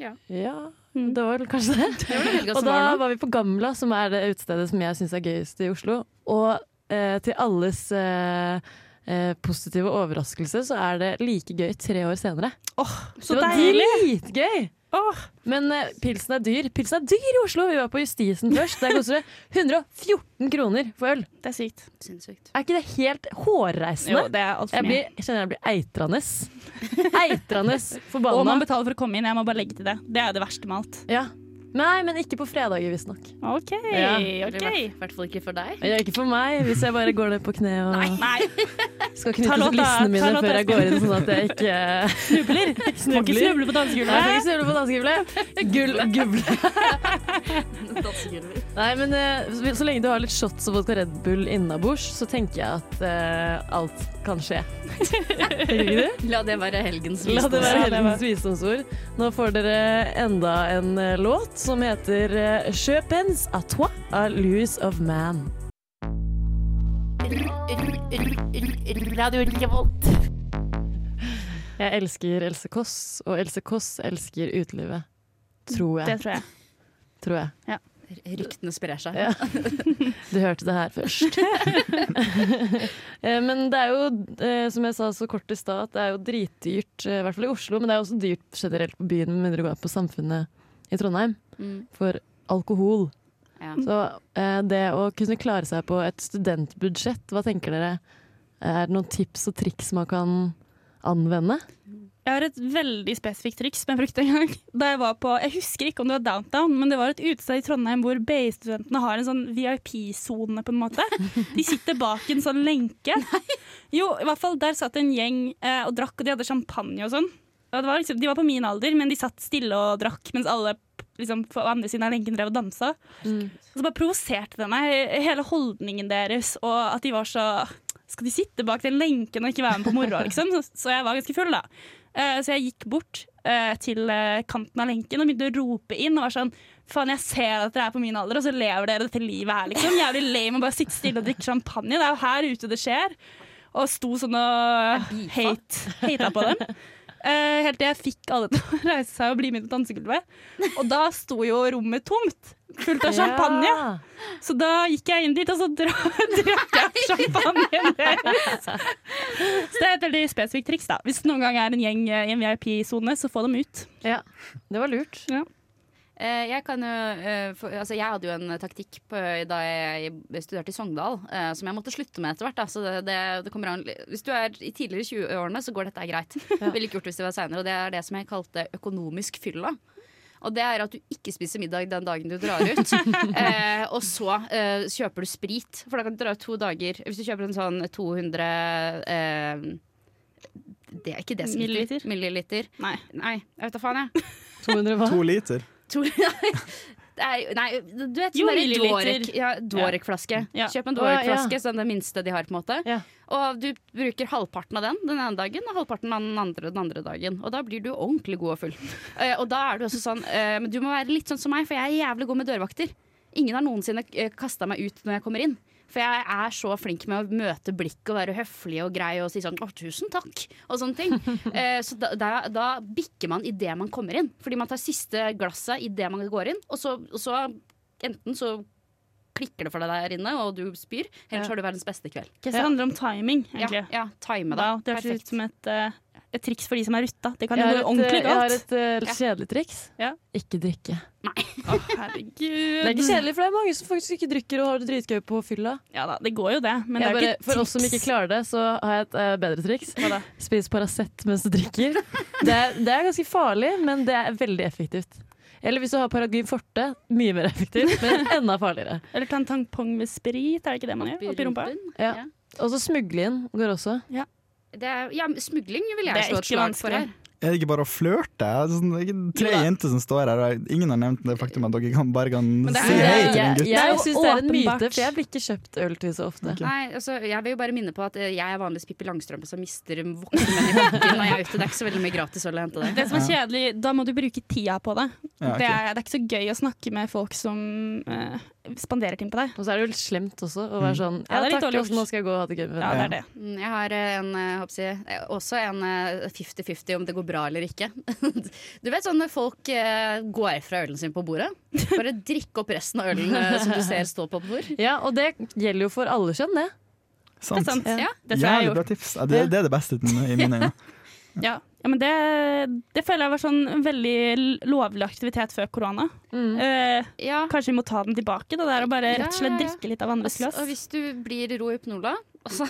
A: Ja,
B: Mm.
A: det var vel kanskje det.
C: Det var det helga
A: Og
C: som
A: da
C: var nå.
A: var vi på Gamla, som er det utestedet som jeg syns er gøyest i Oslo. Og eh, til alles eh, eh, positive overraskelse så er det like gøy tre år senere.
B: Så
A: det var
B: deilig!
A: dritgøy!
B: Åh,
A: Men eh, pilsen er dyr. Pilsen er dyr i Oslo! Vi var på Justisen først. Der koster det 114 kroner for øl.
B: det er sykt.
C: Sinnssykt.
A: Er ikke det helt hårreisende?
B: Jo, det er altfor
A: Sånn, jeg,
B: mye.
A: blir, jeg kjenner jeg blir eitrende. Eitrende
B: Og man
A: forbanna.
B: betaler for å komme inn. Jeg må bare legge til det. Det er det verste med alt.
A: Ja. Nei, men ikke på fredager, visstnok.
B: OK,
A: Ja.
B: OK.
C: I hvert fall ikke for deg.
A: Ja, ikke for meg, hvis jeg bare går ned på kne og
B: Nei,
A: skal
B: Ta
A: knytte
B: låta,
A: til lissene
B: ta
A: mine
B: låta.
A: før jeg går inn, sånn at jeg ikke
B: snubler. Må ikke snuble på
A: Nei, jeg
B: dansegulvet.
A: skal ikke snuble på dansegulvet. Gull, guble.
C: Dansegulvet.
A: Nei, men eh, så- så lenge du har litt shots og vodka Red Bull innabords, så tenker jeg at eh, alt kan skje. Tenker ikke du?
C: La det være helgens
A: La det
C: visdom.
A: være
B: Ja, det var-
A: helgens visdomsord. Nå får dere enda en eh, låt som heter eh, Je pense à toi av Louis of Man. Jeg elsker Else Kåss, og Else Kåss elsker utelivet. Tror
B: Det
A: jeg.
B: tror jeg.
A: Tror jeg.
C: Ryktene sprer seg.
A: Ja. Du hørte det her først. Eh, men det er jo, eh, som jeg sa så kort i stad, at det er jo dritdyrt, eh, i hvert fall i Oslo, men det er også dyrt generelt på byen, med mindre du går på Samfunnet i Trondheim,
C: Mm.
A: for alkohol.
C: Ja.
A: Så eh, det å kunne klare seg på et studentbudsjett, hva tenker dere? Er det noen tips og triks man kan anvende?
B: Jeg har et veldig spesifikt triks som jeg brukte en gang. Da Jeg var på, jeg husker ikke om det var downtown, men det var et utested i Trondheim hvor BI-studentene har en sånn VIP-sone, på en måte. De sitter bak en sånn lenke. Jo, i hvert fall der satt en gjeng eh, og drakk, og de hadde champagne og sånn. Og det var liksom, de var på min alder, men de satt stille og drakk, mens alle liksom, på andre siden av lenken drev og dansa. Og så bare provoserte det meg, hele holdningen deres, og at de var så Skal de sitte bak den lenken og ikke være med på moroa, liksom? Så- Så jeg var ganske full, da. Eh, Så jeg gikk bort eh, til eh, kanten av lenken og begynte å rope inn og var sånn Faen, jeg ser at dere er på min alder, og så lever dere dette livet her, liksom. Jævlig lame å bare sitte stille og drikke champagne. Det er jo her ute det skjer. Og sto sånn og hate, hata på dem. Eh, helt til jeg fikk alle til å reise seg og bli med til dansegulvet. Og da sto jo rommet tomt, fullt av champagne.
A: Ja.
B: Så da gikk jeg inn dit, og så dra, drakk jeg champagnen deres. Så det er et veldig spesifikt triks. da. Hvis det noen gang er en gjeng eh, i en VIP-sone, så få dem ut.
A: Ja, det var lurt.
C: Eh, Jeg, kan, jo, eh, for, altså jeg hadde jo en taktikk på, da jeg studerte i Sogndal, eh, som jeg måtte slutte med etter hvert. Da. Så det, det, det kommer an, hvis du er i tidligere 20-årene, så går dette her greit. Ville ikke gjort det hvis det var seinere. Og det er det som jeg kalte økonomisk fylla. Og det er at du ikke spiser middag den dagen du drar ut. eh, og så eh, kjøper du sprit, for da kan du dra ut to dager. Hvis du kjøper en sånn 200 eh, Det er ikke desiliter.
B: Milliliter?
C: Milliliter.
B: Nei.
C: Nei, jeg vet da faen, jeg.
A: 200 hva?
D: To liter.
C: To, nei, det er, nei, du vet
B: Jo,
C: sånn derre
B: milliliter.
C: Dorek- ja, Dorek-flaske.
B: Ja.
C: Kjøp en
A: Å, ja.
C: Dorek-flaske, sånn det minste de har. på en måte
A: Ja.
C: Og du bruker halvparten av den den ene dagen, og halvparten av den andre den andre dagen. Og da blir du ordentlig god og full. Eh, og da er du også sånn eh, Men du må være litt sånn som meg, for jeg er jævlig god med dørvakter. Ingen har noensinne kasta meg ut når jeg kommer inn. For jeg er så flink med å møte blikk og være høflig og grei og si sånn 'Å, tusen takk', og sånne ting. Eh, så da, da, da bikker man idet man kommer inn. Fordi man tar siste glasset idet man går inn, og så, og så enten så klikker det for deg der inne, og du spyr, eller
B: Ja.
C: så har du verdens beste kveld.
B: Så det handler om timing,
C: Ja,
B: egentlig.
C: ja time
B: Wow,
C: deg.
B: det høres ut
C: Perfekt.
B: som et, eh, et triks for de som er rutta. Det kan
A: Jeg
B: jo
A: har
B: gå
A: et,
B: ordentlig
A: eh, Jeg har
B: galt.
A: et eh, kjedelig triks.
B: Ja.
A: Ikke drikke.
B: Å, herregud.
A: Det er ikke kjedelig, for det er mange som faktisk ikke drikker og har det dritgøy på fylla.
B: Ja da, det går jo det, men det
A: Jeg
B: er jo
A: bare,
B: ikke et
A: for oss som ikke
B: triks.
A: klarer det, så har jeg et eh, bedre triks.
B: Hva da?
A: Spis Paracet mens du drikker. Det er, det er ganske farlig, men det er veldig effektivt. Eller hvis du har Paragym forte, mye mer effektivt, men enda farligere.
B: Eller ta en tampong med sprit, er det ikke det man gjør? Oppi rumpa?
C: rumpen.
A: Ja. Og så smugle inn går også.
C: Det er, ja, smugling vil
B: Det
C: jeg
B: er
C: slå et
B: ikke
C: slag for
B: vanskelig.
C: her.
D: Er det ikke bare å flørte? Det er sånn- det er ikke tre
B: Jo da.
D: jenter som står her, og ingen har nevnt det faktum at dere kan bare kan
B: Men det er-
D: si
B: det er-
D: hei til en
A: Jeg,
D: gutt.
B: Det er jo
A: jeg syns det er en myte,
B: åpenbart.
A: for jeg blir ikke kjøpt øl til så ofte.
C: Nei, altså, jeg vil jo bare minne på at eh, jeg er vanligvis Pippi Langstrømpe som mister voksne menn i bakken når jeg er ute. Det er ikke så veldig mye gratis å hente det.
B: Det som er kjedelig, da må du bruke tida på det.
D: Ja, ok.
B: det, er, det er ikke så gøy å snakke med folk som eh, spanderer ting på deg.
A: Og så er det jo litt slemt også å være sånn Ja,
B: Ja, det er litt
A: takk,
B: dårlig
A: Åsen, nå skal jeg gå og ha det gøy med
B: Ja,
A: venner.
B: det er det.
C: Mm, Jeg har eh, en, eh, håper jeg, eh, også en eh, 50-50 om det går bra eller ikke. Du vet sånn når folk eh, går fra ølen sin på bordet. Bare drikk opp resten av ølen eh, som du ser stå på bord.
A: Ja, og det gjelder jo for alle kjønn, det.
B: Det er
D: Sant.
B: sant.
A: Ja.
B: Det tror jeg jeg
D: Jævlig
B: har
D: bra
B: gjort.
D: tips. Ja, det, det er det beste i mine øyne.
B: Ja. Ja, men det, det føler jeg var sånn en veldig l- lovlig aktivitet før korona.
A: Mm.
B: Eh,
C: Ja,
B: kanskje vi må ta den tilbake, da, det er å bare rett og slett
C: Ja, ja, ja.
B: drikke litt av andres glass.
C: altså, og hvis du blir Ro Hypnola, altså,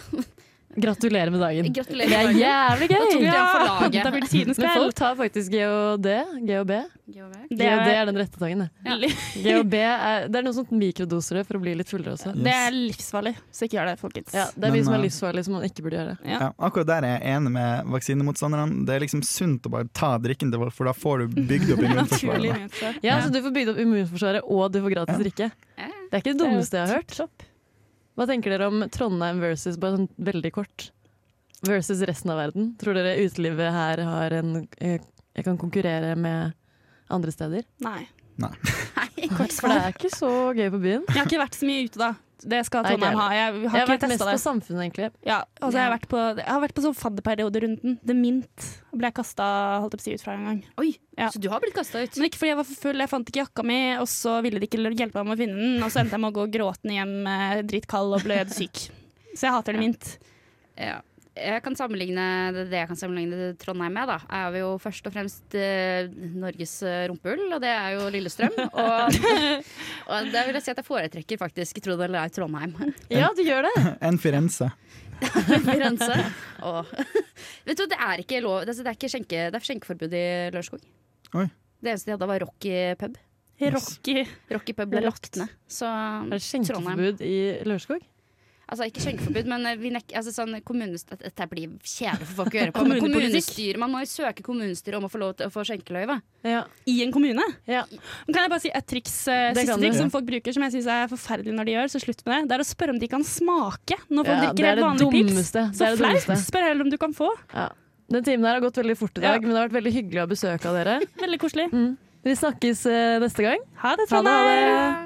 A: Gratulerer med dagen.
C: gratulerer.
A: Det er
C: med dagen.
A: jævlig
C: Da tok
A: gøy!
C: vi han for
B: Ja,
C: laget.
B: da blir det tidens
A: Men folk
B: kveld.
A: tar faktisk GHD, GHB.
B: Det
A: GHD
B: er,
A: er den rette tangen, det.
B: Ja.
A: GHB er, det er noe sånt mikrodoser det for å bli litt fullere også.
B: det er livsfarlig, så ikke gjør det, folkens.
A: Ja, det er mye
D: Men,
A: som er
D: eh,
A: livsfarlig som man ikke burde gjøre.
B: Ja.
D: Ja, akkurat der er jeg enig med vaksinemotstanderne. Det er liksom sunt å bare ta drikken til folk, for da får du bygd opp
B: Naturlig.
D: immunforsvaret.
B: mente jeg.
A: Ja, Så du får bygd opp immunforsvaret, og du får gratis drikke. Det er ikke det
B: er jo
A: dummeste jeg har hørt. Hva tenker dere om Trondheim versus bare sånn veldig kort versus resten av verden? Tror dere utelivet her har en eh, Jeg kan konkurrere med andre steder?
B: Nei.
D: Nei.
A: For
B: Kort
A: det
B: svar.
A: er ikke så gøy på byen.
B: Jeg har ikke vært så mye ute, da. Det skal
A: Nei, ikke
B: Trondheim ha. Jeg
A: Jeg
B: har
A: har
B: ikke
A: vært mest
B: testa
A: på
B: det.
A: samfunnet, egentlig.
B: Ja, altså jeg har vært på, jeg har vært på sånn fadderperioderunden. The Mint ble jeg kasta holdt jeg på å si, ut fra en gang.
C: Oi,
B: Ja.
C: så du har blitt kasta ut?
B: Men ikke fordi jeg var for full, jeg fant ikke jakka mi, og så ville de ikke hjelpe meg med å finne den, og så endte jeg med å gå gråtende hjem eh, dritkald og blødsyk. Så jeg hater The Mint.
C: Ja. Jeg kan sammenligne det, det jeg kan sammenligne Trondheim med, da, er jo først og fremst eh, Norges eh, rumpehull, og det er jo Lillestrøm. Og, og det vil jeg si at jeg foretrekker faktisk, tro det eller ei, Trondheim.
A: Ja, du gjør det!
D: En Firenze.
C: Firenze. sånn. Og, vet du, hva, det er ikke lov altså, Det er, ikke skjenke, det er skjenkeforbud i Lørenskog.
D: Oi.
C: Det eneste de hadde, var Rocky pub.
B: Rocky.
C: Rocky pub ble lagt ned. Så
A: Er det
C: Trondheim
A: skjenkeforbud i Lørenskog?
C: Altså ikke skjenkeforbud, men vi nek altså, sånn, kommunes- dette- Dette blir kjedelig for folk å gjøre på. Men
B: Kommunepolitikk.
C: kommunestyret- man må jo søke kommunestyret om å få lov til å få skjenkeløyve.
A: Ja.
B: I en kommune?
A: ja.
B: Men kan jeg bare si et triks, eh,
A: Det
B: siste
A: kan du.
B: triks som folk bruker, som jeg syns er forferdelig når de gjør, så slutt med det. Det er å spørre om de kan smake når folk
A: Ja, det
B: drikker
A: er
B: helt
A: det
B: vanlig pils.
A: dummeste. Det
B: Så
A: er det
B: flaut!
A: dummeste.
B: Spør heller om du kan få.
A: Ja. Den timen her har gått veldig fort i dag,
B: Ja.
A: men det har vært veldig hyggelig å ha besøk av dere.
B: Veldig koselig.
A: Vi snakkes eh, neste gang.
B: Ha
A: Mm. Ha det,
B: det, Trondheim!
A: ha det!